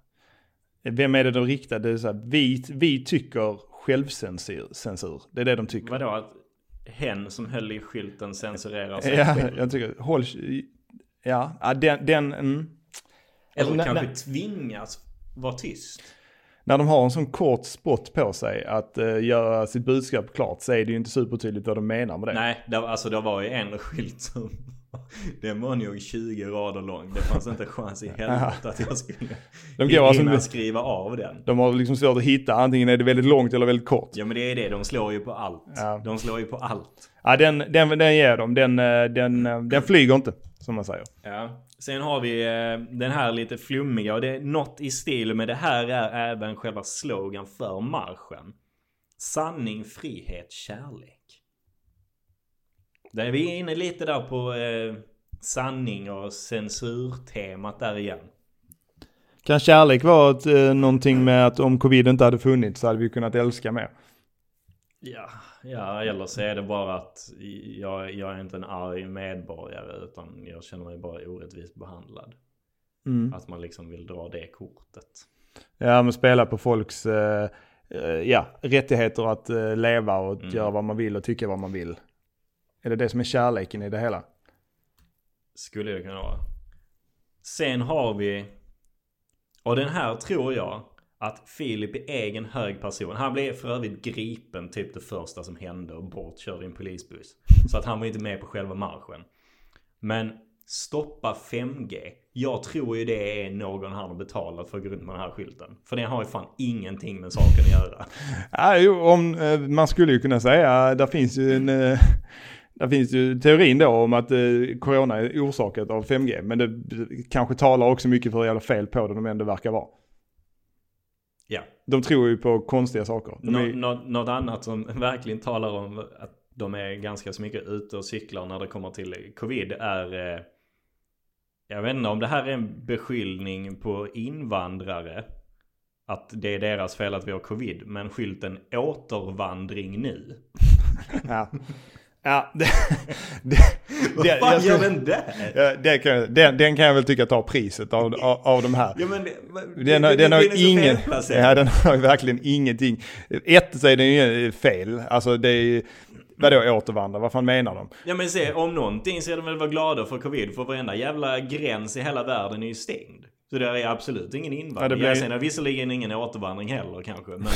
[SPEAKER 1] Vem är det de riktar? Det är så här, vi, vi tycker självcensur. Censur. Det är det de tycker.
[SPEAKER 2] Vadå att hen som höll i skylten censurerar sig
[SPEAKER 1] Ja,
[SPEAKER 2] själv?
[SPEAKER 1] jag tycker, håll... Ja, ja den... den mm.
[SPEAKER 2] Eller
[SPEAKER 1] Alltså,
[SPEAKER 2] kanske
[SPEAKER 1] när,
[SPEAKER 2] tvingas vara tyst?
[SPEAKER 1] när de har en sån kort spot på sig att eh, göra sitt budskap klart så är det ju inte supertydligt vad de menar med det.
[SPEAKER 2] Nej, det, var- alltså det var ju en skylt som... Den var nog 20 rader lång. Det fanns inte en chans i helvete att jag skulle
[SPEAKER 1] De går
[SPEAKER 2] hinna
[SPEAKER 1] alltså med-
[SPEAKER 2] skriva av den.
[SPEAKER 1] De har liksom svårt att hitta, antingen är det väldigt långt eller väldigt kort.
[SPEAKER 2] Ja men det är det, de slår ju på allt.
[SPEAKER 1] Ja.
[SPEAKER 2] De slår ju på allt.
[SPEAKER 1] Ja, den, den, den ger jag dem. Den, eh, den, eh, den flyger inte, som man säger.
[SPEAKER 2] Ja. Sen har vi eh, den här lite flummiga och det är något i stil med det här är även själva slogan för marschen. Sanning, frihet, kärlek. Där är vi inne lite där på eh, sanning och censurtemat där igen.
[SPEAKER 1] Kan kärlek vara ett, eh, någonting med att om covid inte hade funnits så hade vi kunnat älska mer?
[SPEAKER 2] Ja, ja, eller så är det bara att jag, jag är inte en arg medborgare utan jag känner mig bara orättvist behandlad.
[SPEAKER 1] Mm.
[SPEAKER 2] Att man liksom vill dra det kortet.
[SPEAKER 1] Ja, men spela på folks eh, eh, ja, rättigheter att eh, leva och
[SPEAKER 2] Mm.
[SPEAKER 1] göra vad man vill och tycka vad man vill. Är det det som är kärleken i det hela?
[SPEAKER 2] Skulle det kunna vara. Sen har vi... Och den här tror jag att Filip i egen hög person. Han blev för övrigt gripen typ det första som hände och bortkörd i en polisbuss. Så att han var inte med på själva marschen. Men stoppa 5G. Jag tror ju det är någon han har betalat för att gå runt med den här skylten. För den har ju fan ingenting med saken att göra.
[SPEAKER 1] Ja, jo, om, eh, man skulle ju kunna säga, där finns ju en... Eh, där finns ju teorin då om att eh, corona är orsakat av 5G, men det b- kanske talar också mycket för hur jävla fel på det de ändå verkar vara.
[SPEAKER 2] Ja.
[SPEAKER 1] De tror ju på konstiga saker. De
[SPEAKER 2] Nå-
[SPEAKER 1] är-
[SPEAKER 2] nå- något annat som verkligen talar om att de är ganska så mycket ute och cyklar när det kommer till covid är eh, Jag vet inte om det här är en beskyllning på invandrare. Att det är deras fel att vi har covid. Men skylten återvandring nu.
[SPEAKER 1] Ja, ja det, det,
[SPEAKER 2] Vad
[SPEAKER 1] det-
[SPEAKER 2] fan
[SPEAKER 1] jag
[SPEAKER 2] gör
[SPEAKER 1] skulle-
[SPEAKER 2] den där?
[SPEAKER 1] Ja, det kan, jag- den, den kan jag väl tycka tar priset av, av, av de här.
[SPEAKER 2] Ja, men det,
[SPEAKER 1] Den har, den har
[SPEAKER 2] är så
[SPEAKER 1] ingen,
[SPEAKER 2] felplacerat.
[SPEAKER 1] ja, den har ju verkligen ingenting. Ett så är den ju fel, alltså det är ju, vadå återvandra, vad fan menar de?
[SPEAKER 2] Ja men se, om någonting så är de väl vara glada för covid för varenda jävla gräns i hela världen är ju stängd. Så där är absolut ingen invandring.
[SPEAKER 1] Ja,
[SPEAKER 2] Ja,
[SPEAKER 1] det blir-
[SPEAKER 2] Sen är det visserligen ingen återvandring heller kanske. Men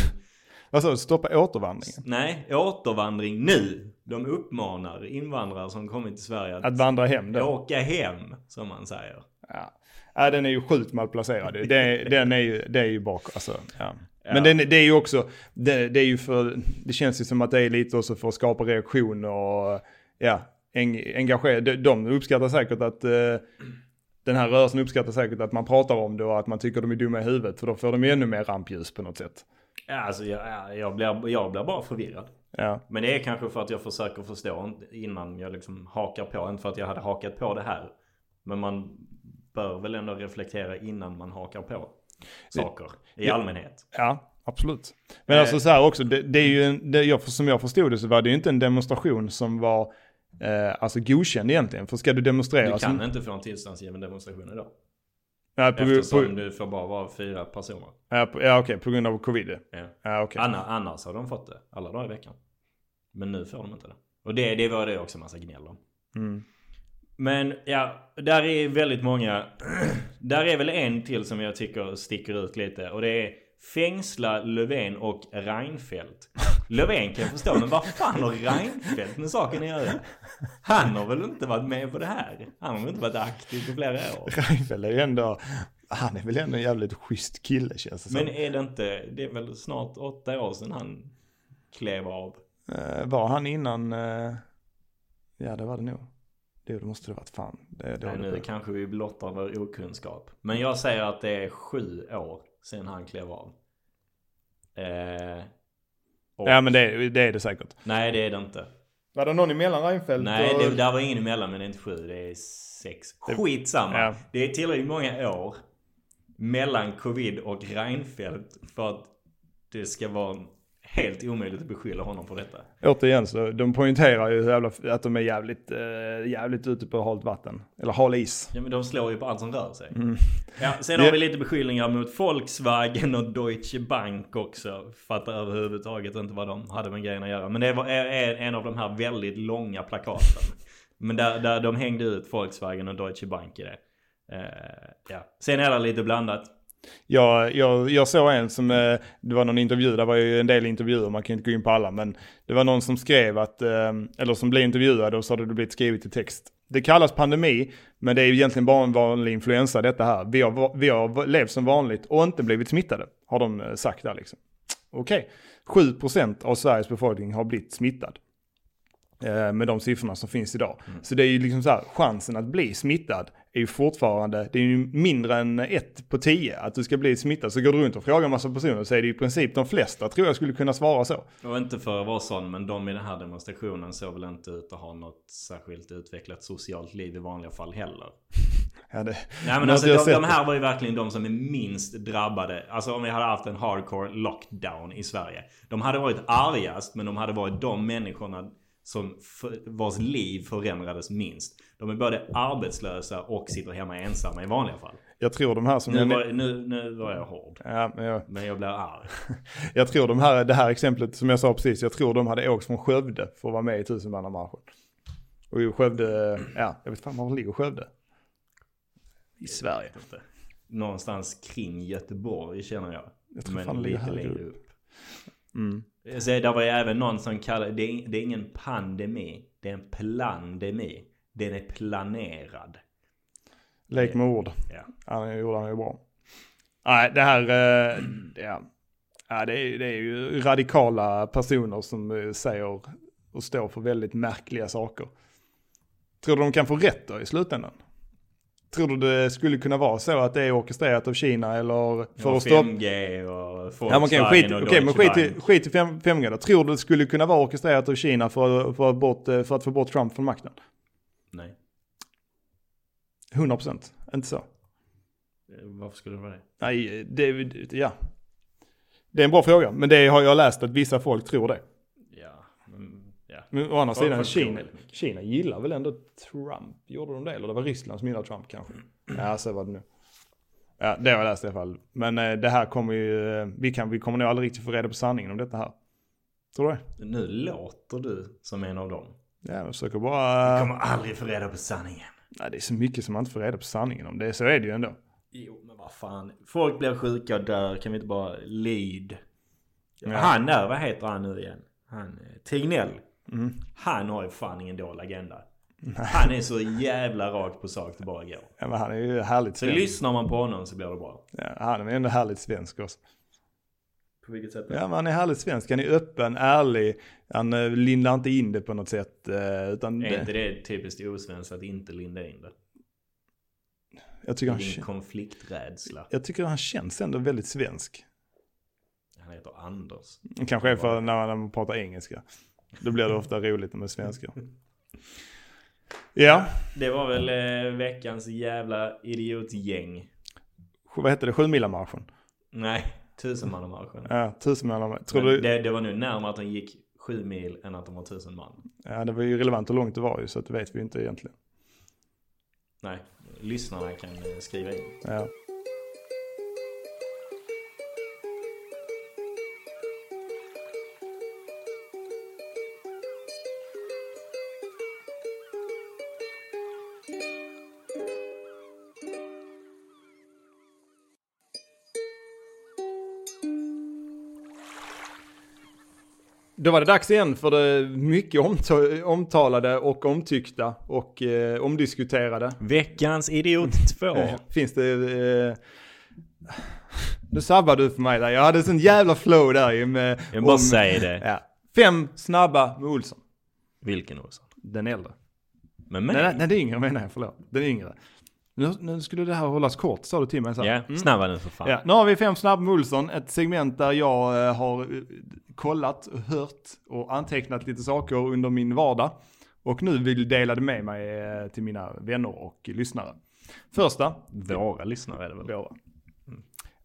[SPEAKER 1] Alltså stoppa återvandringen?
[SPEAKER 2] nej, återvandring nu. De uppmanar invandrare som kommit till Sverige att,
[SPEAKER 1] Att vandra hem då?
[SPEAKER 2] åka hem, som man säger.
[SPEAKER 1] Ja. ja, den är ju sjukt malplacerad. Det, är- den är ju, det är ju bak, alltså. Ja. Men den, det är ju också, det, det är ju för, det känns ju som att det är lite också för att skapa reaktion och ja, en, engagera. De, de uppskattar säkert att, eh, den här rörelsen uppskattar säkert att man pratar om det och att man tycker de är dumma i huvudet. För då får de ju ännu mer rampljus på något sätt.
[SPEAKER 2] Ja, alltså jag, ja, jag, blir, jag blir bara förvirrad.
[SPEAKER 1] Ja.
[SPEAKER 2] Men det är kanske för att jag försöker förstå innan jag liksom hakar på. Inte för att jag hade hakat på det här. Men man bör väl ändå reflektera innan man hakar på saker i allmänhet.
[SPEAKER 1] Ja, absolut.
[SPEAKER 2] Eh.
[SPEAKER 1] Men alltså så här också, det, det är ju en, det, jag, som jag förstod det så var det ju inte en demonstration som var eh, alltså godkänd egentligen. För ska du demonstrera...
[SPEAKER 2] Du kan
[SPEAKER 1] så,
[SPEAKER 2] inte få en tillståndsgiven demonstration idag.
[SPEAKER 1] nej, på, på,
[SPEAKER 2] Eftersom du får bara vara fyra personer.
[SPEAKER 1] ja, på, ja, okej, på grund av covid.
[SPEAKER 2] Ja.
[SPEAKER 1] Ja, okej.
[SPEAKER 2] Anna, annars har de fått det alla dagar i veckan. Men nu får de inte det. Och det, det var det också massa gnäll om.
[SPEAKER 1] Mm.
[SPEAKER 2] Men ja, där är väldigt många. där är väl en till som jag tycker sticker ut lite. Och det är fängsla Löfven och Reinfeldt. Löfven kan jag förstå, men vad fan har Reinfeldt med saken att göra? Han har väl inte varit med på det här? Han har väl inte varit aktiv på flera år?
[SPEAKER 1] Reinfeldt är ju ändå... Han är väl ändå en jävligt schysst kille känns det
[SPEAKER 2] Men
[SPEAKER 1] som.
[SPEAKER 2] är det inte, det är väl snart åtta år sedan han klev av?
[SPEAKER 1] Eh, var han innan... Eh, ja, det var det nog. Det, det måste det varit fan. Det, det
[SPEAKER 2] Nej,
[SPEAKER 1] håller
[SPEAKER 2] nu
[SPEAKER 1] på.
[SPEAKER 2] kanske vi blottar vår okunskap. Men jag säger att det är sju år sedan han klev av. Eh, och,
[SPEAKER 1] Ja, men det, det är det säkert.
[SPEAKER 2] Nej, det är det inte.
[SPEAKER 1] Var det någon emellan Reinfeldt
[SPEAKER 2] Nej,
[SPEAKER 1] och...
[SPEAKER 2] det, där var ingen emellan, men det är inte sju. Det är sex. Skitsamma.
[SPEAKER 1] Ja.
[SPEAKER 2] Det är tillräckligt många år mellan covid och Reinfeldt för att det ska vara helt omöjligt att beskylla honom för detta.
[SPEAKER 1] Återigen så, de poängterar ju hur jävla, att de är jävligt, eh, jävligt ute på halt vatten. Eller hal is.
[SPEAKER 2] Ja men de slår ju på allt som rör sig. Ja, sen har vi lite beskyllningar mot Volkswagen och Deutsche Bank också. Fattar överhuvudtaget inte vad de hade med grejen att göra. Men det var en, en av de här väldigt långa plakaten. Men där, där de hängde ut Volkswagen och Deutsche Bank i det. Eh, ja. Sen är det lite blandat.
[SPEAKER 1] Jag, jag, jag såg en som, eh, det var någon intervju, där var ju en del intervjuer, man kan ju inte gå in på alla, men det var någon som skrev att, eh, eller som blev intervjuad och så hade det blivit skrivet i text. Det kallas pandemi, men det är ju egentligen bara en vanlig influensa detta här. Vi har, va- vi har levt som vanligt och inte blivit smittade, har de eh, sagt där liksom. Okej, 7% av Sveriges befolkning har blivit smittad. eh, med de siffrorna som finns idag.
[SPEAKER 2] Mm.
[SPEAKER 1] Så det är ju liksom så här, chansen att bli smittad är ju fortfarande, det är ju mindre än ett på tio att du ska bli smittad. Så går du runt och frågar en massa personer så är det ju i princip de flesta tror jag skulle kunna svara så.
[SPEAKER 2] Och inte för att vara sån, men de i den här demonstrationen såg väl inte ut att ha något särskilt utvecklat socialt liv i vanliga fall heller.
[SPEAKER 1] Ja, det,
[SPEAKER 2] Nej men
[SPEAKER 1] Något
[SPEAKER 2] alltså
[SPEAKER 1] jag
[SPEAKER 2] de,
[SPEAKER 1] sett.
[SPEAKER 2] de här var ju verkligen de som är minst drabbade. Alltså om vi hade haft en hardcore lockdown i Sverige. De hade varit argast men de hade varit de människorna som för, vars liv förändrades minst. De är både arbetslösa och sitter hemma ensamma i vanliga fall.
[SPEAKER 1] Jag tror de här som...
[SPEAKER 2] Nu
[SPEAKER 1] jag,
[SPEAKER 2] var, nu, nu var jag hård.
[SPEAKER 1] ja, men jag,
[SPEAKER 2] Men jag blir arg.
[SPEAKER 1] jag tror de här, det här exemplet som jag sa precis, jag tror de hade åkt från Skövde för att vara med i tusenmannamarschen. Och ju Skövde, ja, jag vet fan var ligger Skövde? I Sverige.
[SPEAKER 2] Någonstans kring Göteborg känner jag.
[SPEAKER 1] Jag tror fan
[SPEAKER 2] men
[SPEAKER 1] det ligger
[SPEAKER 2] lite
[SPEAKER 1] högre
[SPEAKER 2] längre
[SPEAKER 1] upp.
[SPEAKER 2] upp. Så där var ju även någon som kallade det, är- det är ingen pandemi. Det är en plandemi. Den är planerad.
[SPEAKER 1] Lek med ord.
[SPEAKER 2] Ja.
[SPEAKER 1] Ja, det gjorde han ju bra. Nej, det här... eh, ja. Ja, det, är, det är ju radikala personer som eh, säger och står för väldigt märkliga saker. Tror du de kan få rätt då i slutändan? Tror du det skulle kunna vara så att det är orkestrerat av Kina eller för
[SPEAKER 2] och
[SPEAKER 1] att stoppa...
[SPEAKER 2] 5G och
[SPEAKER 1] Ja,
[SPEAKER 2] Volkswagen
[SPEAKER 1] men okej, skit,
[SPEAKER 2] och
[SPEAKER 1] okej, men
[SPEAKER 2] Deutsche
[SPEAKER 1] skit, i-
[SPEAKER 2] Bank.
[SPEAKER 1] skit i 5G då. Tror du det skulle kunna vara orkestrerat av Kina för, för, att bort, för att få bort Trump från makten?
[SPEAKER 2] Nej.
[SPEAKER 1] 100%, inte så.
[SPEAKER 2] Varför skulle det vara det?
[SPEAKER 1] Nej, det, ja. Det är en bra fråga, men det har jag läst att vissa folk tror det.
[SPEAKER 2] Ja, men, ja.
[SPEAKER 1] Men å andra
[SPEAKER 2] Folk-
[SPEAKER 1] sidan,
[SPEAKER 2] folk tror
[SPEAKER 1] Kina,
[SPEAKER 2] väldigt mycket.
[SPEAKER 1] Kina gillar väl ändå Trump? Gjorde de det? Eller det var Ryssland som gillade Trump kanske? Ja, så var det nu. Ja, det har jag läst i alla fall. Men eh, det här kommer ju, eh, vi, kan, vi kommer nog aldrig riktigt få reda på sanningen om detta här. Tror du det?
[SPEAKER 2] Nu låter du som en av dem.
[SPEAKER 1] Ja, jag försöker bara...
[SPEAKER 2] Kommer aldrig få reda på sanningen.
[SPEAKER 1] Nej, det är så mycket som man inte får reda på sanningen om. Det, så är det ju ändå.
[SPEAKER 2] Jo, men vad fan. Folk blir sjuka och dör. Kan vi inte bara lid?
[SPEAKER 1] Ja.
[SPEAKER 2] Han där, vad heter han nu igen? Han, eh, Tegnell.
[SPEAKER 1] Mm.
[SPEAKER 2] Han har ju fan ingen dold agenda. Han är så jävla rakt på sak det bara går.
[SPEAKER 1] Ja, men han är ju härligt
[SPEAKER 2] Så
[SPEAKER 1] svensk.
[SPEAKER 2] lyssnar man på honom så blir det bra.
[SPEAKER 1] Ja, han är ändå härligt svensk också.
[SPEAKER 2] På vilket sätt?
[SPEAKER 1] Ja, men han är härligt svensk. Han är öppen, ärlig. Han eh, lindar inte in det på något sätt. eh, Utan
[SPEAKER 2] Är inte
[SPEAKER 1] det,
[SPEAKER 2] det typiskt osvenskt att inte linda in det?
[SPEAKER 1] jag, tycker han,
[SPEAKER 2] Din
[SPEAKER 1] kä-
[SPEAKER 2] konflikträdsla.
[SPEAKER 1] jag tycker han känns ändå väldigt svensk.
[SPEAKER 2] Han heter Anders.
[SPEAKER 1] Kanske är för när man, när man pratar engelska. Då blir det ofta roligt med svenskar. Ja,
[SPEAKER 2] Det var väl eh, veckans jävla idiotgäng.
[SPEAKER 1] vad hette det? Sjumilamarschen?
[SPEAKER 2] Nej, tusenmannamarschen.
[SPEAKER 1] Ja, tusenmilamarschen. Tror
[SPEAKER 2] Men
[SPEAKER 1] du?
[SPEAKER 2] Det, det var nu närmare att de gick sju mil än att de var tusen man.
[SPEAKER 1] Ja, det var ju relevant hur långt det var ju, så att det vet vi inte egentligen.
[SPEAKER 2] Nej, lyssnarna kan eh, skriva in.
[SPEAKER 1] Ja. Då var det dags igen för det mycket omta- omtalade och omtyckta och eh, omdiskuterade.
[SPEAKER 2] Veckans idiot 2.
[SPEAKER 1] Finns det... Eh, nu sabbar du för mig där. Jag hade sån jävla flow där ju med...
[SPEAKER 2] Jag bara
[SPEAKER 1] om-
[SPEAKER 2] säger det.
[SPEAKER 1] Ja. Fem snabba med Olsson.
[SPEAKER 2] Vilken Olsson?
[SPEAKER 1] Den äldre.
[SPEAKER 2] Men
[SPEAKER 1] Nej, nej,
[SPEAKER 2] mig?
[SPEAKER 1] nej den yngre menar jag. Förlåt. Den yngre. Nu, nu skulle det här hållas kort sa du till mig. Så. här.
[SPEAKER 2] Mm. Ja, snabba nu för fan.
[SPEAKER 1] Ja, nu har vi fem snabba med Olsson. Ett segment där jag eh, har eh, kollat, hört och antecknat lite saker under min vardag. Och nu vill dela det med mig eh, till mina vänner och lyssnare. Första,
[SPEAKER 2] Våra lyssnare är det väl?
[SPEAKER 1] Blåa.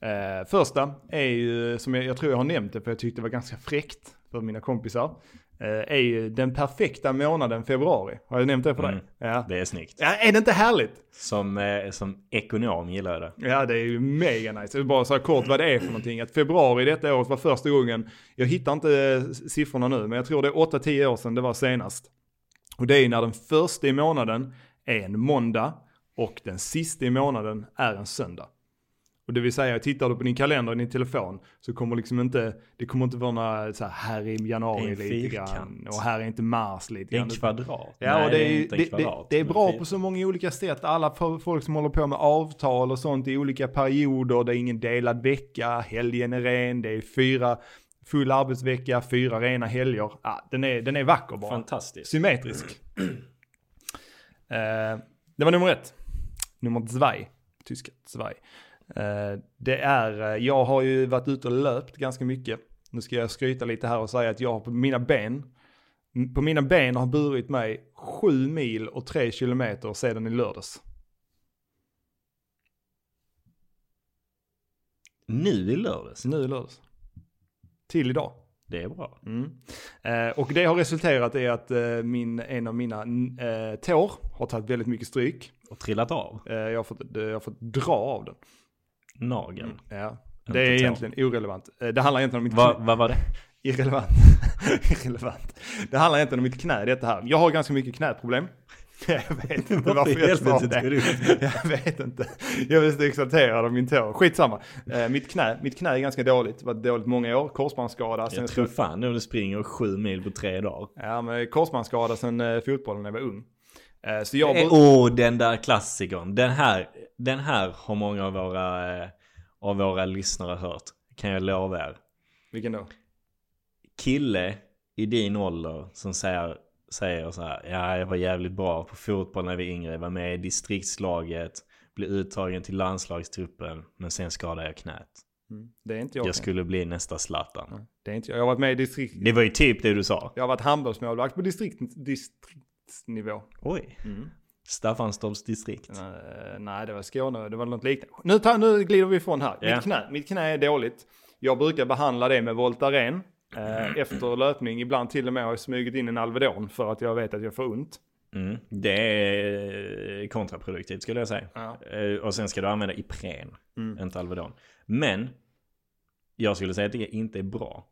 [SPEAKER 1] Eh, första är ju, som jag, jag tror jag har nämnt det för jag tyckte det var ganska fräckt för mina kompisar. Eh, är ju den perfekta månaden februari. Har jag nämnt det för dig?
[SPEAKER 2] Mm.
[SPEAKER 1] Ja.
[SPEAKER 2] Det är snyggt.
[SPEAKER 1] ja. Är det inte härligt?
[SPEAKER 2] Som, eh, som ekonom gillar jag det.
[SPEAKER 1] Ja, det är ju mega nice. Jag vill bara säga kort vad det är för någonting. Att februari detta året var första gången, jag hittar inte eh, siffrorna nu, men jag tror det är 8-10 år sedan det var senast. Och det är ju när den första i månaden är en måndag och den sista i månaden är en söndag. Och det vill säga, tittar du på din kalender i din telefon så kommer liksom inte, det kommer inte vara några så här, här är
[SPEAKER 2] Det är
[SPEAKER 1] januari
[SPEAKER 2] en
[SPEAKER 1] lite
[SPEAKER 2] fyrkant.
[SPEAKER 1] grann och här är inte mars lite
[SPEAKER 2] Det är
[SPEAKER 1] grann.
[SPEAKER 2] en kvadrat.
[SPEAKER 1] Ja,
[SPEAKER 2] Nej,
[SPEAKER 1] och det, är, ju-
[SPEAKER 2] inte en
[SPEAKER 1] det, det,
[SPEAKER 2] kvadrat,
[SPEAKER 1] det är
[SPEAKER 2] men
[SPEAKER 1] bra
[SPEAKER 2] fyra.
[SPEAKER 1] på så många olika sätt. Alla fo- folk som håller på med avtal och sånt i olika perioder. Det är ingen delad vecka, helgen är ren, det är fyra full arbetsvecka, fyra rena helger. Ah, den, är, den är vacker bara.
[SPEAKER 2] Fantastiskt.
[SPEAKER 1] Symmetrisk. Eh, det var nummer ett. Nummer zwei. Tyska zwei. Eh, det är, eh, jag har ju varit ute och löpt ganska mycket. Nu ska jag skryta lite här och säga att jag har på mina ben, på mina ben har burit mig sju mil och tre kilometer sedan i lördags.
[SPEAKER 2] Nu i lördags.
[SPEAKER 1] Nu i lördags. Till idag.
[SPEAKER 2] Det är bra.
[SPEAKER 1] Mm. Eh, och det har resulterat i att eh, min, en av mina eh, tår har tagit väldigt mycket stryk.
[SPEAKER 2] Och trillat av.
[SPEAKER 1] Eh, jag, har fått, jag har fått dra av den.
[SPEAKER 2] Nageln.
[SPEAKER 1] Ja.
[SPEAKER 2] Inte
[SPEAKER 1] Det är
[SPEAKER 2] tå.
[SPEAKER 1] egentligen orelevant. Eh, Det handlar egentligen om mitt
[SPEAKER 2] Vad
[SPEAKER 1] knä.
[SPEAKER 2] vad var det?
[SPEAKER 1] Irrelevant. Irrelevant. Det handlar egentligen om mitt knä detta här. Jag har ganska mycket knäproblem. Jag vet inte varför
[SPEAKER 2] i
[SPEAKER 1] jag sa
[SPEAKER 2] helvete tog
[SPEAKER 1] det.
[SPEAKER 2] du upp
[SPEAKER 1] Jag vet inte. Jag blev så exalterad av min tå. Skitsamma. Eh, mitt knä, mitt knä är ganska dåligt. Det har varit dåligt många år. Korsbandsskada. Sen
[SPEAKER 2] Jag tror fan om du springer sju mil på tre dagar.
[SPEAKER 1] Ja, men korsbandsskada sen eh, fotbollen när jag var ung. Eh, så jag...
[SPEAKER 2] Åh, oh, den där klassikern. Den här, den här har många av våra, eh, av våra lyssnare hört. Kan jag lova er.
[SPEAKER 1] Vilken då?
[SPEAKER 2] Kille i din ålder som säger, säger så här. Ja, jag var jävligt bra på fotboll när vi var yngre. Jag var med i distriktslaget. Blev uttagen till landslagstruppen. Men sen skadade jag knät.
[SPEAKER 1] Mm. Det är inte jag.
[SPEAKER 2] Jag skulle bli nästa Zlatan.
[SPEAKER 1] Det är inte jag. Jag har varit med i distrikt...
[SPEAKER 2] Det var ju typ det du sa.
[SPEAKER 1] Jag har varit handbollsmålvakt på distrikt... distriktsnivå.
[SPEAKER 2] Oj. Mm. Staffanstorps distrikt.
[SPEAKER 1] Eh, nej, det var Skåne, det var något liknande. Nu, tar, nu glider vi ifrån här.
[SPEAKER 2] Ja.
[SPEAKER 1] Mitt, knä, mitt knä är dåligt. Jag brukar behandla det med Voltaren eh, efter löpning. Ibland till och med har jag smugit in en Alvedon för att jag vet att jag får ont.
[SPEAKER 2] Mm. Det är kontraproduktivt skulle jag säga.
[SPEAKER 1] Ja.
[SPEAKER 2] Eh, Och sen ska du använda Ipren,
[SPEAKER 1] Mm.
[SPEAKER 2] inte Alvedon. Men jag skulle säga att det inte är bra.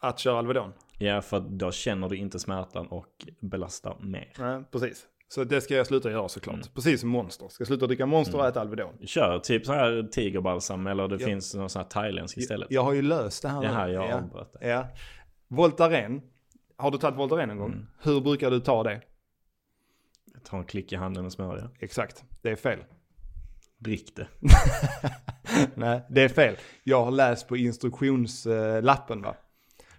[SPEAKER 1] Att köra Alvedon.
[SPEAKER 2] Ja, för då känner du inte smärtan och belastar mer.
[SPEAKER 1] Nej, precis. Så det ska jag sluta göra såklart.
[SPEAKER 2] Mm.
[SPEAKER 1] Precis som Monster. Ska sluta dricka Monster och äta Alvedon.
[SPEAKER 2] Kör typ så här tigerbalsam eller det
[SPEAKER 1] Ja.
[SPEAKER 2] finns någon sån här thailändsk istället.
[SPEAKER 1] Jag har ju löst det här
[SPEAKER 2] Det
[SPEAKER 1] nu.
[SPEAKER 2] här jag
[SPEAKER 1] ja.
[SPEAKER 2] avbröt det.
[SPEAKER 1] ja. Voltaren. Har du tagit Voltaren en
[SPEAKER 2] Mm.
[SPEAKER 1] gång? Hur brukar du ta det?
[SPEAKER 2] Ta en klick i handen och smörja.
[SPEAKER 1] Exakt, det är fel.
[SPEAKER 2] Drick det.
[SPEAKER 1] Nej, det är fel. Jag har läst på instruktionslappen va.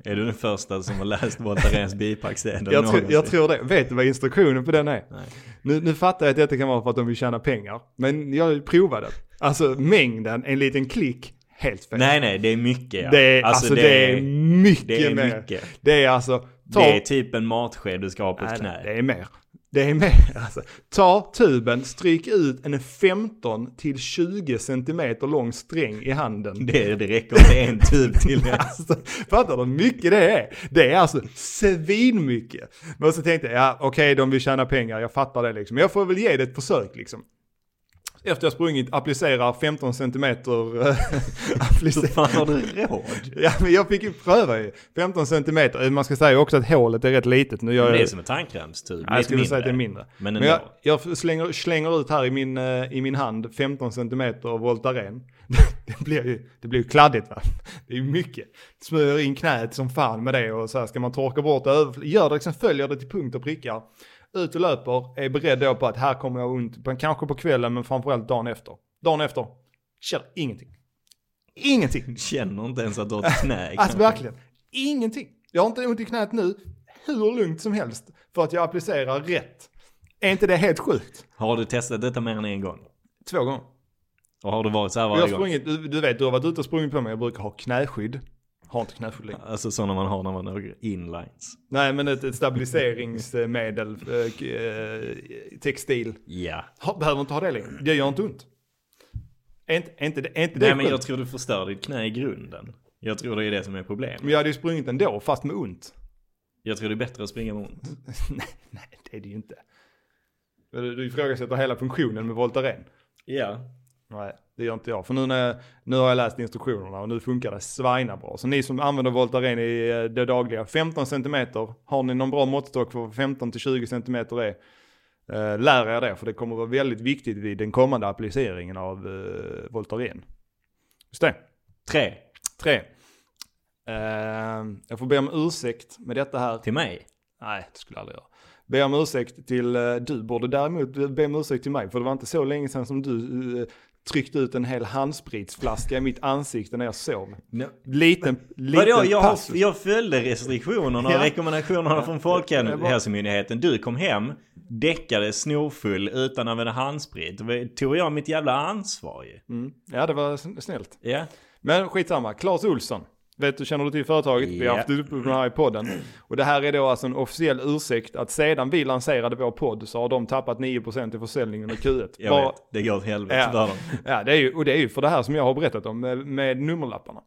[SPEAKER 2] Är du den första som har läst Voltarens bipacksedel
[SPEAKER 1] Jag, tror- jag
[SPEAKER 2] någonsin?
[SPEAKER 1] tror det. Vet du vad instruktionen på den är?
[SPEAKER 2] Nej.
[SPEAKER 1] Nu, nu fattar jag att detta kan vara för att de vill tjäna pengar. Men jag provade. Alltså mängden, en liten klick, helt fel.
[SPEAKER 2] nej, nej, det är mycket. Ja.
[SPEAKER 1] det, är, alltså, det, är mycket
[SPEAKER 2] det är
[SPEAKER 1] mer.
[SPEAKER 2] mycket.
[SPEAKER 1] Det är alltså... Ta,
[SPEAKER 2] Det är typ en matsked du ska ha på ett
[SPEAKER 1] Nej,
[SPEAKER 2] knä.
[SPEAKER 1] nej, det är mer. Det är mer. Alltså, ta tuben, stryk ut en 15 till 20 centimeter lång sträng i handen.
[SPEAKER 2] Det, det räcker med en tub till.
[SPEAKER 1] Alltså, fattar du hur mycket det är? Det är alltså svinmycket. Men så tänkte jag, ja okej de vill tjäna pengar, jag fattar det liksom. Men jag får väl ge det ett försök liksom. Efter jag sprungit, applicerar 15 centimeter... eh,
[SPEAKER 2] Hur
[SPEAKER 1] applicerar.
[SPEAKER 2] fan har du råd?
[SPEAKER 1] Ja men jag fick ju pröva ju. 15 centimeter, Eh, man ska säga också att hålet är rätt litet. Nu gör
[SPEAKER 2] Det är
[SPEAKER 1] jag...
[SPEAKER 2] som en tandkrämstub.
[SPEAKER 1] Ja, jag
[SPEAKER 2] lite
[SPEAKER 1] skulle säga att det är mindre.
[SPEAKER 2] Men
[SPEAKER 1] Men jag,
[SPEAKER 2] ändå.
[SPEAKER 1] jag slänger, slänger ut här i min, eh, i min hand 15 centimeter Voltaren. Det blir ju, det blir ju kladdigt va. Det är ju mycket. Smörjer in knät som fan med det och så här ska man torka bort det. över- Gör det, liksom följer det till punkt och prickar. Ut och löper, är beredd då på att här kommer jag ont. på- Kanske på kvällen men framförallt dagen efter. Dagen efter, känner ingenting. Ingenting.
[SPEAKER 2] Känner inte ens att du har ett knä.
[SPEAKER 1] Alltså
[SPEAKER 2] kanske.
[SPEAKER 1] verkligen, ingenting. Jag har inte ont i knät nu, hur lugnt som helst. För att jag applicerar rätt. Är inte det helt sjukt?
[SPEAKER 2] Har du testat detta mer än en gång?
[SPEAKER 1] Två gånger.
[SPEAKER 2] Och har du varit så här
[SPEAKER 1] Jag har
[SPEAKER 2] varje gång?
[SPEAKER 1] sprungit, du, du vet, du har varit ute och sprungit på mig. Jag brukar ha knäskydd. Har inte knäskydd längre.
[SPEAKER 2] Alltså sådana man har när man åker inlines.
[SPEAKER 1] Nej, men ett, ett stabiliseringsmedel, eh, k- eh, textil.
[SPEAKER 2] Ja.
[SPEAKER 1] Ha, behöver inte ha det längre. Det gör inte ont. Är inte, är inte, det- är inte det
[SPEAKER 2] Nej men jag
[SPEAKER 1] sjukt?
[SPEAKER 2] tror du förstör ditt knä i grunden. Jag tror det är det som är problemet.
[SPEAKER 1] Men jag hade ju sprungit ändå, fast med ont.
[SPEAKER 2] Jag tror det är bättre att springa med ont.
[SPEAKER 1] nej, nej, det är det ju inte. Du, du ifrågasätter hela funktionen med Voltaren.
[SPEAKER 2] Ja.
[SPEAKER 1] Nej, det gör inte jag. För nu, när jag, nu har jag läst instruktionerna och nu funkar det svina bra. Så ni som använder Voltaren i eh, det dagliga, 15 cm. Har ni någon bra måttstock för 15 till 20 cm är, eh, lär er det. För det kommer vara väldigt viktigt vid den kommande appliceringen av eh, Voltaren. Just det.
[SPEAKER 2] Tre.
[SPEAKER 1] Tre. Eh, jag får be om ursäkt med detta här.
[SPEAKER 2] Till mig.
[SPEAKER 1] Nej, det skulle jag aldrig göra. Be om ursäkt till, eh, du borde däremot be om ursäkt till mig, för det var inte så länge sedan som du eh, tryckte ut en hel handspritsflaska i mitt ansikte när jag sov. Liten, liten
[SPEAKER 2] Vadå, jag, har,
[SPEAKER 1] passus.
[SPEAKER 2] jag följde restriktionerna och
[SPEAKER 1] Ja.
[SPEAKER 2] rekommendationerna från
[SPEAKER 1] det var-
[SPEAKER 2] Folkhälsomyndigheten. Du kom hem, däckade snorfull utan att använda handsprit. Då Tog jag mitt jävla ansvar ju.
[SPEAKER 1] Mm. Ja, det var sn- snällt.
[SPEAKER 2] Ja.
[SPEAKER 1] Men skitsamma, Claes Olsson. Vet du, känner du till företaget? Vi har
[SPEAKER 2] Ja.
[SPEAKER 1] haft det uppe på den här i podden. Och det här är då alltså en officiell ursäkt att sedan vi lanserade vår podd så har de tappat 9% i försäljningen av Q1.
[SPEAKER 2] Jag
[SPEAKER 1] Bara-
[SPEAKER 2] vet, det går åt helvete
[SPEAKER 1] Ja.
[SPEAKER 2] för dem.
[SPEAKER 1] Ja, det är ju, och det är ju för det här som jag har berättat om med, med nummerlapparna.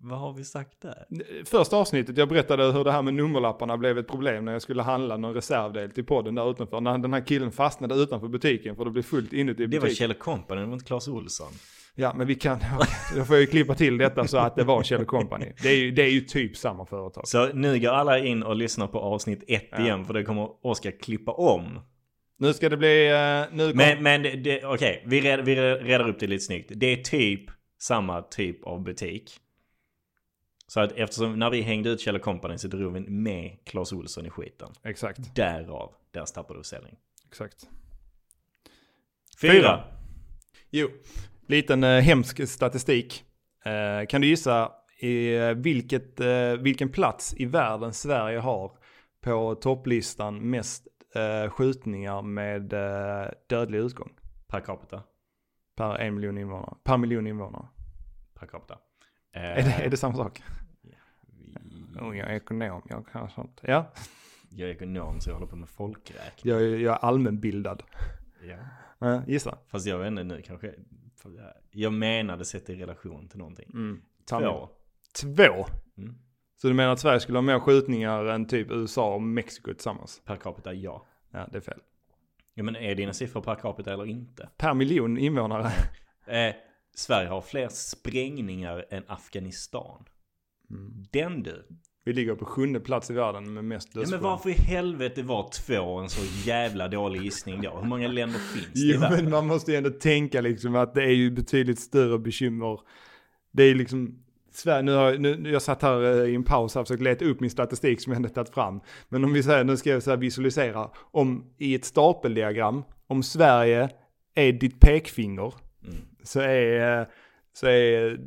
[SPEAKER 2] Vad har vi sagt där?
[SPEAKER 1] Första avsnittet, jag berättade hur det här med nummerlapparna blev ett problem när jag skulle handla någon reservdel till podden där utanför. När den här killen fastnade utanför butiken för det blev fullt inuti
[SPEAKER 2] Det var
[SPEAKER 1] butiken.
[SPEAKER 2] Kjell Company, det var inte Clas Olsson.
[SPEAKER 1] Ja, men vi kan, då får jag ju klippa till detta så att det var Kjell Company. Det är ju, det är ju typ samma företag.
[SPEAKER 2] Så nu går alla in och lyssnar på avsnitt ett
[SPEAKER 1] Ja.
[SPEAKER 2] igen för det kommer Oskar klippa om.
[SPEAKER 1] Nu ska det bli, eh, nu kom,
[SPEAKER 2] Men, men det- det- okej, vi, red, vi redar upp det lite snyggt. Det är typ samma typ av butik. Så att eftersom när vi hängde ut Kjell Company så drog vi med Clas Olsson i skiten.
[SPEAKER 1] Exakt,
[SPEAKER 2] Mm. Därav deras tappade försäljning.
[SPEAKER 1] exakt.
[SPEAKER 2] Fyra.
[SPEAKER 1] Fyra. Jo, liten eh, hemsk statistik. Eh, kan du gissa i, eh, vilket, eh, vilken plats i världen Sverige har på topplistan mest eh, skjutningar med eh, dödlig utgång
[SPEAKER 2] Per capita.
[SPEAKER 1] per en miljon invånare? Per miljon invånare.
[SPEAKER 2] Per capita. Eh,
[SPEAKER 1] Är, det, är det samma sak? Oh, jag är ekonom, jag kan sånt. Ja,
[SPEAKER 2] Jag är ekonom så jag håller på med folkräkning.
[SPEAKER 1] Jag, är- jag är allmänbildad.
[SPEAKER 2] Ja.
[SPEAKER 1] Eh, gissa.
[SPEAKER 2] Fast jag vet inte nu kanske. för jag- Jag menade sett i relation till någonting.
[SPEAKER 1] Sanning.
[SPEAKER 2] Mm. Två.
[SPEAKER 1] Två.
[SPEAKER 2] Mm.
[SPEAKER 1] Så du menar att Sverige skulle ha mer skjutningar än typ USA och Mexiko tillsammans?
[SPEAKER 2] Per capita, ja.
[SPEAKER 1] Ja, det är fel.
[SPEAKER 2] Ja men är dina siffror per capita eller inte?
[SPEAKER 1] Per miljon invånare.
[SPEAKER 2] Eh, Sverige har fler sprängningar än Afghanistan. Den du.
[SPEAKER 1] Vi ligger på sjunde plats i världen med mest
[SPEAKER 2] Ja, men
[SPEAKER 1] dödsskjutningar.
[SPEAKER 2] varför i helvete var två en så jävla dålig gissning då? Hur många länder finns det i
[SPEAKER 1] Jo, men
[SPEAKER 2] världen?
[SPEAKER 1] man måste ju ändå tänka liksom att det är ju betydligt större bekymmer. Det är liksom, Sverige, nu har, nu, nu- jag satt här eh, i en paus här och försökt leta upp min statistik som jag hade tagit fram. Men om vi säger, nu ska jag så här visualisera, om i ett stapeldiagram, om Sverige är ditt pekfinger, så är, eh, så är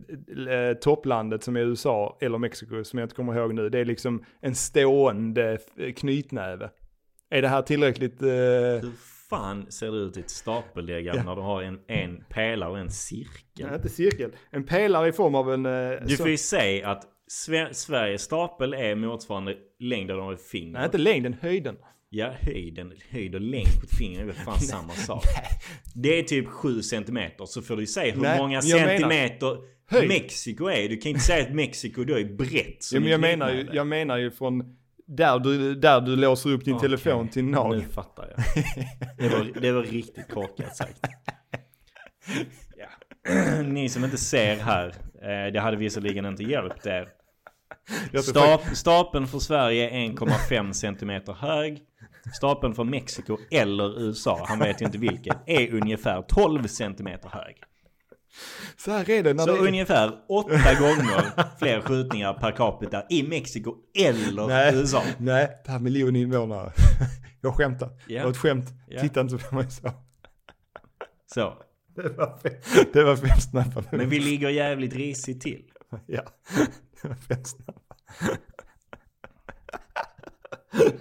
[SPEAKER 1] eh, topplandet som är USA eller Mexiko, som jag inte kommer ihåg nu, det är liksom en stående eh, knytnäve. Är det här tillräckligt? Eh,
[SPEAKER 2] Hur fan ser det ut i ett stapeldiagram när du har en, en pelare och en cirkel?
[SPEAKER 1] Nej, inte cirkel. En pelare i form av en... eh,
[SPEAKER 2] Du
[SPEAKER 1] så-
[SPEAKER 2] får ju säga att Sve- Sveriges stapel är motsvarande längden av ett finger.
[SPEAKER 1] Nej, inte längden, höjden.
[SPEAKER 2] Ja, höjden, höjd och längd på ett finger är väl fan samma sak. Det är typ 7 centimeter. Så får du ju säga hur
[SPEAKER 1] Nej,
[SPEAKER 2] många
[SPEAKER 1] men jag menar-
[SPEAKER 2] centimeter
[SPEAKER 1] Höjd.
[SPEAKER 2] Mexiko är. Du kan inte säga att Mexiko då är brett.
[SPEAKER 1] Ja,
[SPEAKER 2] som
[SPEAKER 1] men
[SPEAKER 2] en
[SPEAKER 1] jag, menar ju,
[SPEAKER 2] knytnäve.
[SPEAKER 1] jag menar ju från där du, där du låser upp din telefon till
[SPEAKER 2] Nu
[SPEAKER 1] nagel.
[SPEAKER 2] fattar jag. Det var, det var riktigt korkat sagt. Ja. Ni som inte ser här, eh, det hade visserligen inte hjälpt er.
[SPEAKER 1] Jag tror
[SPEAKER 2] Stap, stapeln för Sverige är 1,5 centimeter hög. Stapeln för Mexiko eller USA, han vet ju inte vilket, är ungefär 12 centimeter hög.
[SPEAKER 1] faktiskt- Så här är det när
[SPEAKER 2] Så
[SPEAKER 1] det är...
[SPEAKER 2] ungefär åtta gånger fler skjutningar per capita i Mexiko eller
[SPEAKER 1] Nej,
[SPEAKER 2] USA.
[SPEAKER 1] nej, per miljon invånare. Jag skämtar.
[SPEAKER 2] Ja.
[SPEAKER 1] Det var ett skämt.
[SPEAKER 2] Ja.
[SPEAKER 1] Titta inte på mig så.
[SPEAKER 2] Så.
[SPEAKER 1] Det var fem, det var fem snabba nu.
[SPEAKER 2] Men vi ligger jävligt risigt till.
[SPEAKER 1] Ja, det var fem snabba.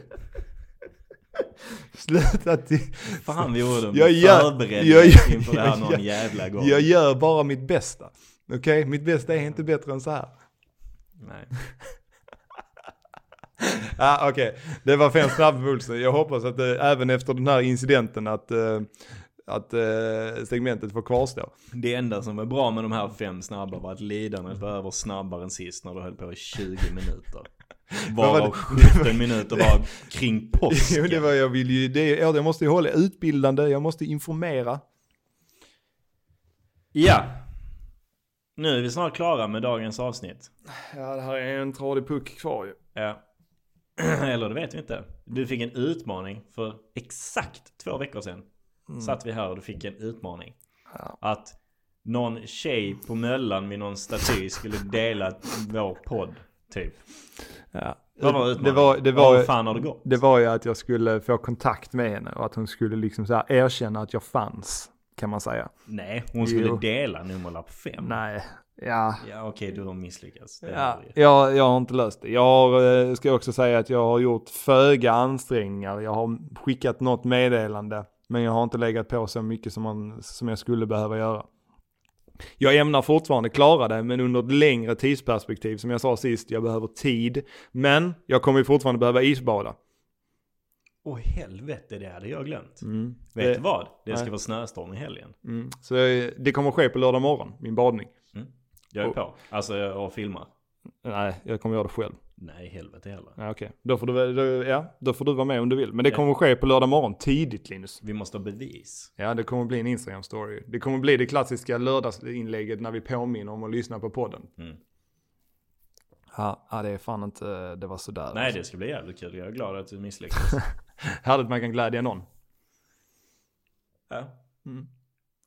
[SPEAKER 1] Sluta till...
[SPEAKER 2] Fan vi gjorde en
[SPEAKER 1] Jag gör-
[SPEAKER 2] förberedning
[SPEAKER 1] jag gör-
[SPEAKER 2] inför det här någon
[SPEAKER 1] jag-
[SPEAKER 2] jävla gång.
[SPEAKER 1] Jag gör bara mitt bästa. Okej, mitt bästa är inte bättre än så här.
[SPEAKER 2] Nej.
[SPEAKER 1] Ah, Okej, det var fem snabba pulsen. Jag hoppas att eh, även efter den här incidenten att, eh, att eh, segmentet får kvarstå.
[SPEAKER 2] Det enda som var bra med de här fem snabba var att lidandet var över snabbare än sist när du höll på i 20 minuter.
[SPEAKER 1] var
[SPEAKER 2] Varav
[SPEAKER 1] det-
[SPEAKER 2] 17 minuter var kring
[SPEAKER 1] Jo, det
[SPEAKER 2] påsken.
[SPEAKER 1] var jag vill ju, det, ja, jag måste ju hålla utbildande, jag måste informera.
[SPEAKER 2] Ja. Nu är vi snart klara med dagens avsnitt.
[SPEAKER 1] Ja, det här är en tradig puck kvar ju.
[SPEAKER 2] Ja. Eller det vet vi inte. Du fick en utmaning för exakt två veckor sedan.
[SPEAKER 1] Mm.
[SPEAKER 2] Satt vi här och du fick en utmaning. Att någon tjej på Möllan vid någon staty skulle dela vår podd. Typ.
[SPEAKER 1] Ja.
[SPEAKER 2] Vad var utmaningen?
[SPEAKER 1] Det var, det
[SPEAKER 2] Vad
[SPEAKER 1] var,
[SPEAKER 2] fan har det gått?
[SPEAKER 1] det var ju att jag skulle få kontakt med henne och att hon skulle liksom så här erkänna att jag fanns, kan man säga.
[SPEAKER 2] Nej, hon skulle
[SPEAKER 1] Jo.
[SPEAKER 2] dela nummerlapp 5.
[SPEAKER 1] Nej, ja,
[SPEAKER 2] Ja okej, du har misslyckats. Det
[SPEAKER 1] Ja,
[SPEAKER 2] har du ju.
[SPEAKER 1] jag, jag har inte löst det. Jag har, eh, ska också säga att jag har gjort föga ansträngningar. Jag har skickat något meddelande, men jag har inte legat på så mycket som, man, som jag skulle behöva göra. Jag ämnar fortfarande klara det, men under ett längre tidsperspektiv, som jag sa sist, jag behöver tid. Men jag kommer ju fortfarande behöva isbada.
[SPEAKER 2] Åh helvete, det hade jag glömt.
[SPEAKER 1] Mm.
[SPEAKER 2] Vet
[SPEAKER 1] Det-
[SPEAKER 2] du vad? Det ska
[SPEAKER 1] nej.
[SPEAKER 2] vara snöstorm i helgen.
[SPEAKER 1] Mm. Så eh, det kommer ske på lördag morgon, min badning.
[SPEAKER 2] Jag är
[SPEAKER 1] Och-
[SPEAKER 2] på. Alltså jag filmar.
[SPEAKER 1] Nej, jag kommer göra det själv.
[SPEAKER 2] Nej, helvete heller.
[SPEAKER 1] Ja, okej. Då, får du, väl- då- ja, då får du vara med om du vill. Men det
[SPEAKER 2] Ja.
[SPEAKER 1] kommer ske på lördag morgon, tidigt Linus.
[SPEAKER 2] Vi måste ha bevis.
[SPEAKER 1] Ja, det kommer bli en Instagram-story. Det kommer bli det klassiska lördagsinlägget när vi påminner om att lyssna på podden.
[SPEAKER 2] Mm.
[SPEAKER 1] Ja, ja, det är fan inte, det var sådär.
[SPEAKER 2] Nej, det ska bli jävligt kul. Jag är glad att du misslyckades.
[SPEAKER 1] Härligt att man kan glädja någon.
[SPEAKER 2] ja.
[SPEAKER 1] Mm.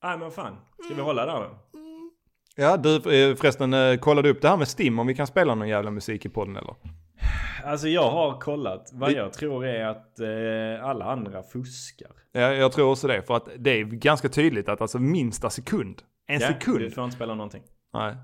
[SPEAKER 2] Nej men fan. Ska vi hålla där då?
[SPEAKER 1] Ja, du eh, förresten, eh, kollade upp det här med Stim, om vi kan spela någon jävla musik i podden eller?
[SPEAKER 2] Alltså jag har kollat. Vad
[SPEAKER 1] Vi-
[SPEAKER 2] jag tror är att eh, alla andra fuskar.
[SPEAKER 1] Ja, jag tror också det, för att det är ganska tydligt att alltså minsta sekund, en
[SPEAKER 2] Ja,
[SPEAKER 1] sekund.
[SPEAKER 2] Du får inte spela någonting.
[SPEAKER 1] Nej.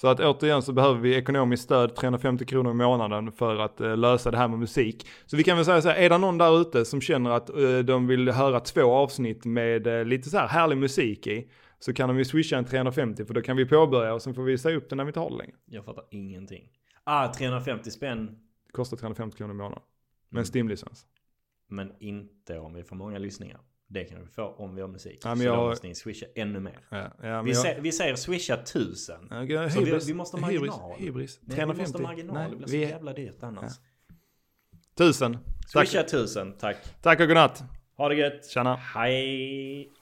[SPEAKER 1] Så att återigen så behöver vi ekonomiskt stöd, 350 kronor i månaden för att eh, lösa det här med musik. Så vi kan väl säga så här, är det någon där ute som känner att eh, de vill höra två avsnitt med eh, lite så här härlig musik i, så kan de ju swisha en 350 för då kan vi påbörja och sen får vi säga upp den när vi inte har det längre.
[SPEAKER 2] Jag fattar ingenting. Ah, 350 spänn
[SPEAKER 1] Det kostar 350 kronor i månaden. med en Steam-licens.
[SPEAKER 2] Men inte om vi får många lyssningar. Det kan vi få om vi har musik.
[SPEAKER 1] Ja, men
[SPEAKER 2] så
[SPEAKER 1] jag-
[SPEAKER 2] då måste ni swisha ännu mer.
[SPEAKER 1] Ja, ja, men
[SPEAKER 2] Vi,
[SPEAKER 1] jag-
[SPEAKER 2] sä- vi säger swisha tusen.
[SPEAKER 1] Ja, ja,
[SPEAKER 2] Så vi-
[SPEAKER 1] hybris,
[SPEAKER 2] vi måste ha
[SPEAKER 1] hybris,
[SPEAKER 2] marginal.
[SPEAKER 1] Hybris.
[SPEAKER 2] Nej, vi
[SPEAKER 1] 350.
[SPEAKER 2] måste ha marginal. det blir så
[SPEAKER 1] vi är
[SPEAKER 2] jävla dyrt annars.
[SPEAKER 1] tusen. Tack,
[SPEAKER 2] Swisha tusen, tack.
[SPEAKER 1] tack och godnatt.
[SPEAKER 2] Ha det gött.
[SPEAKER 1] Tjena.
[SPEAKER 2] Hej.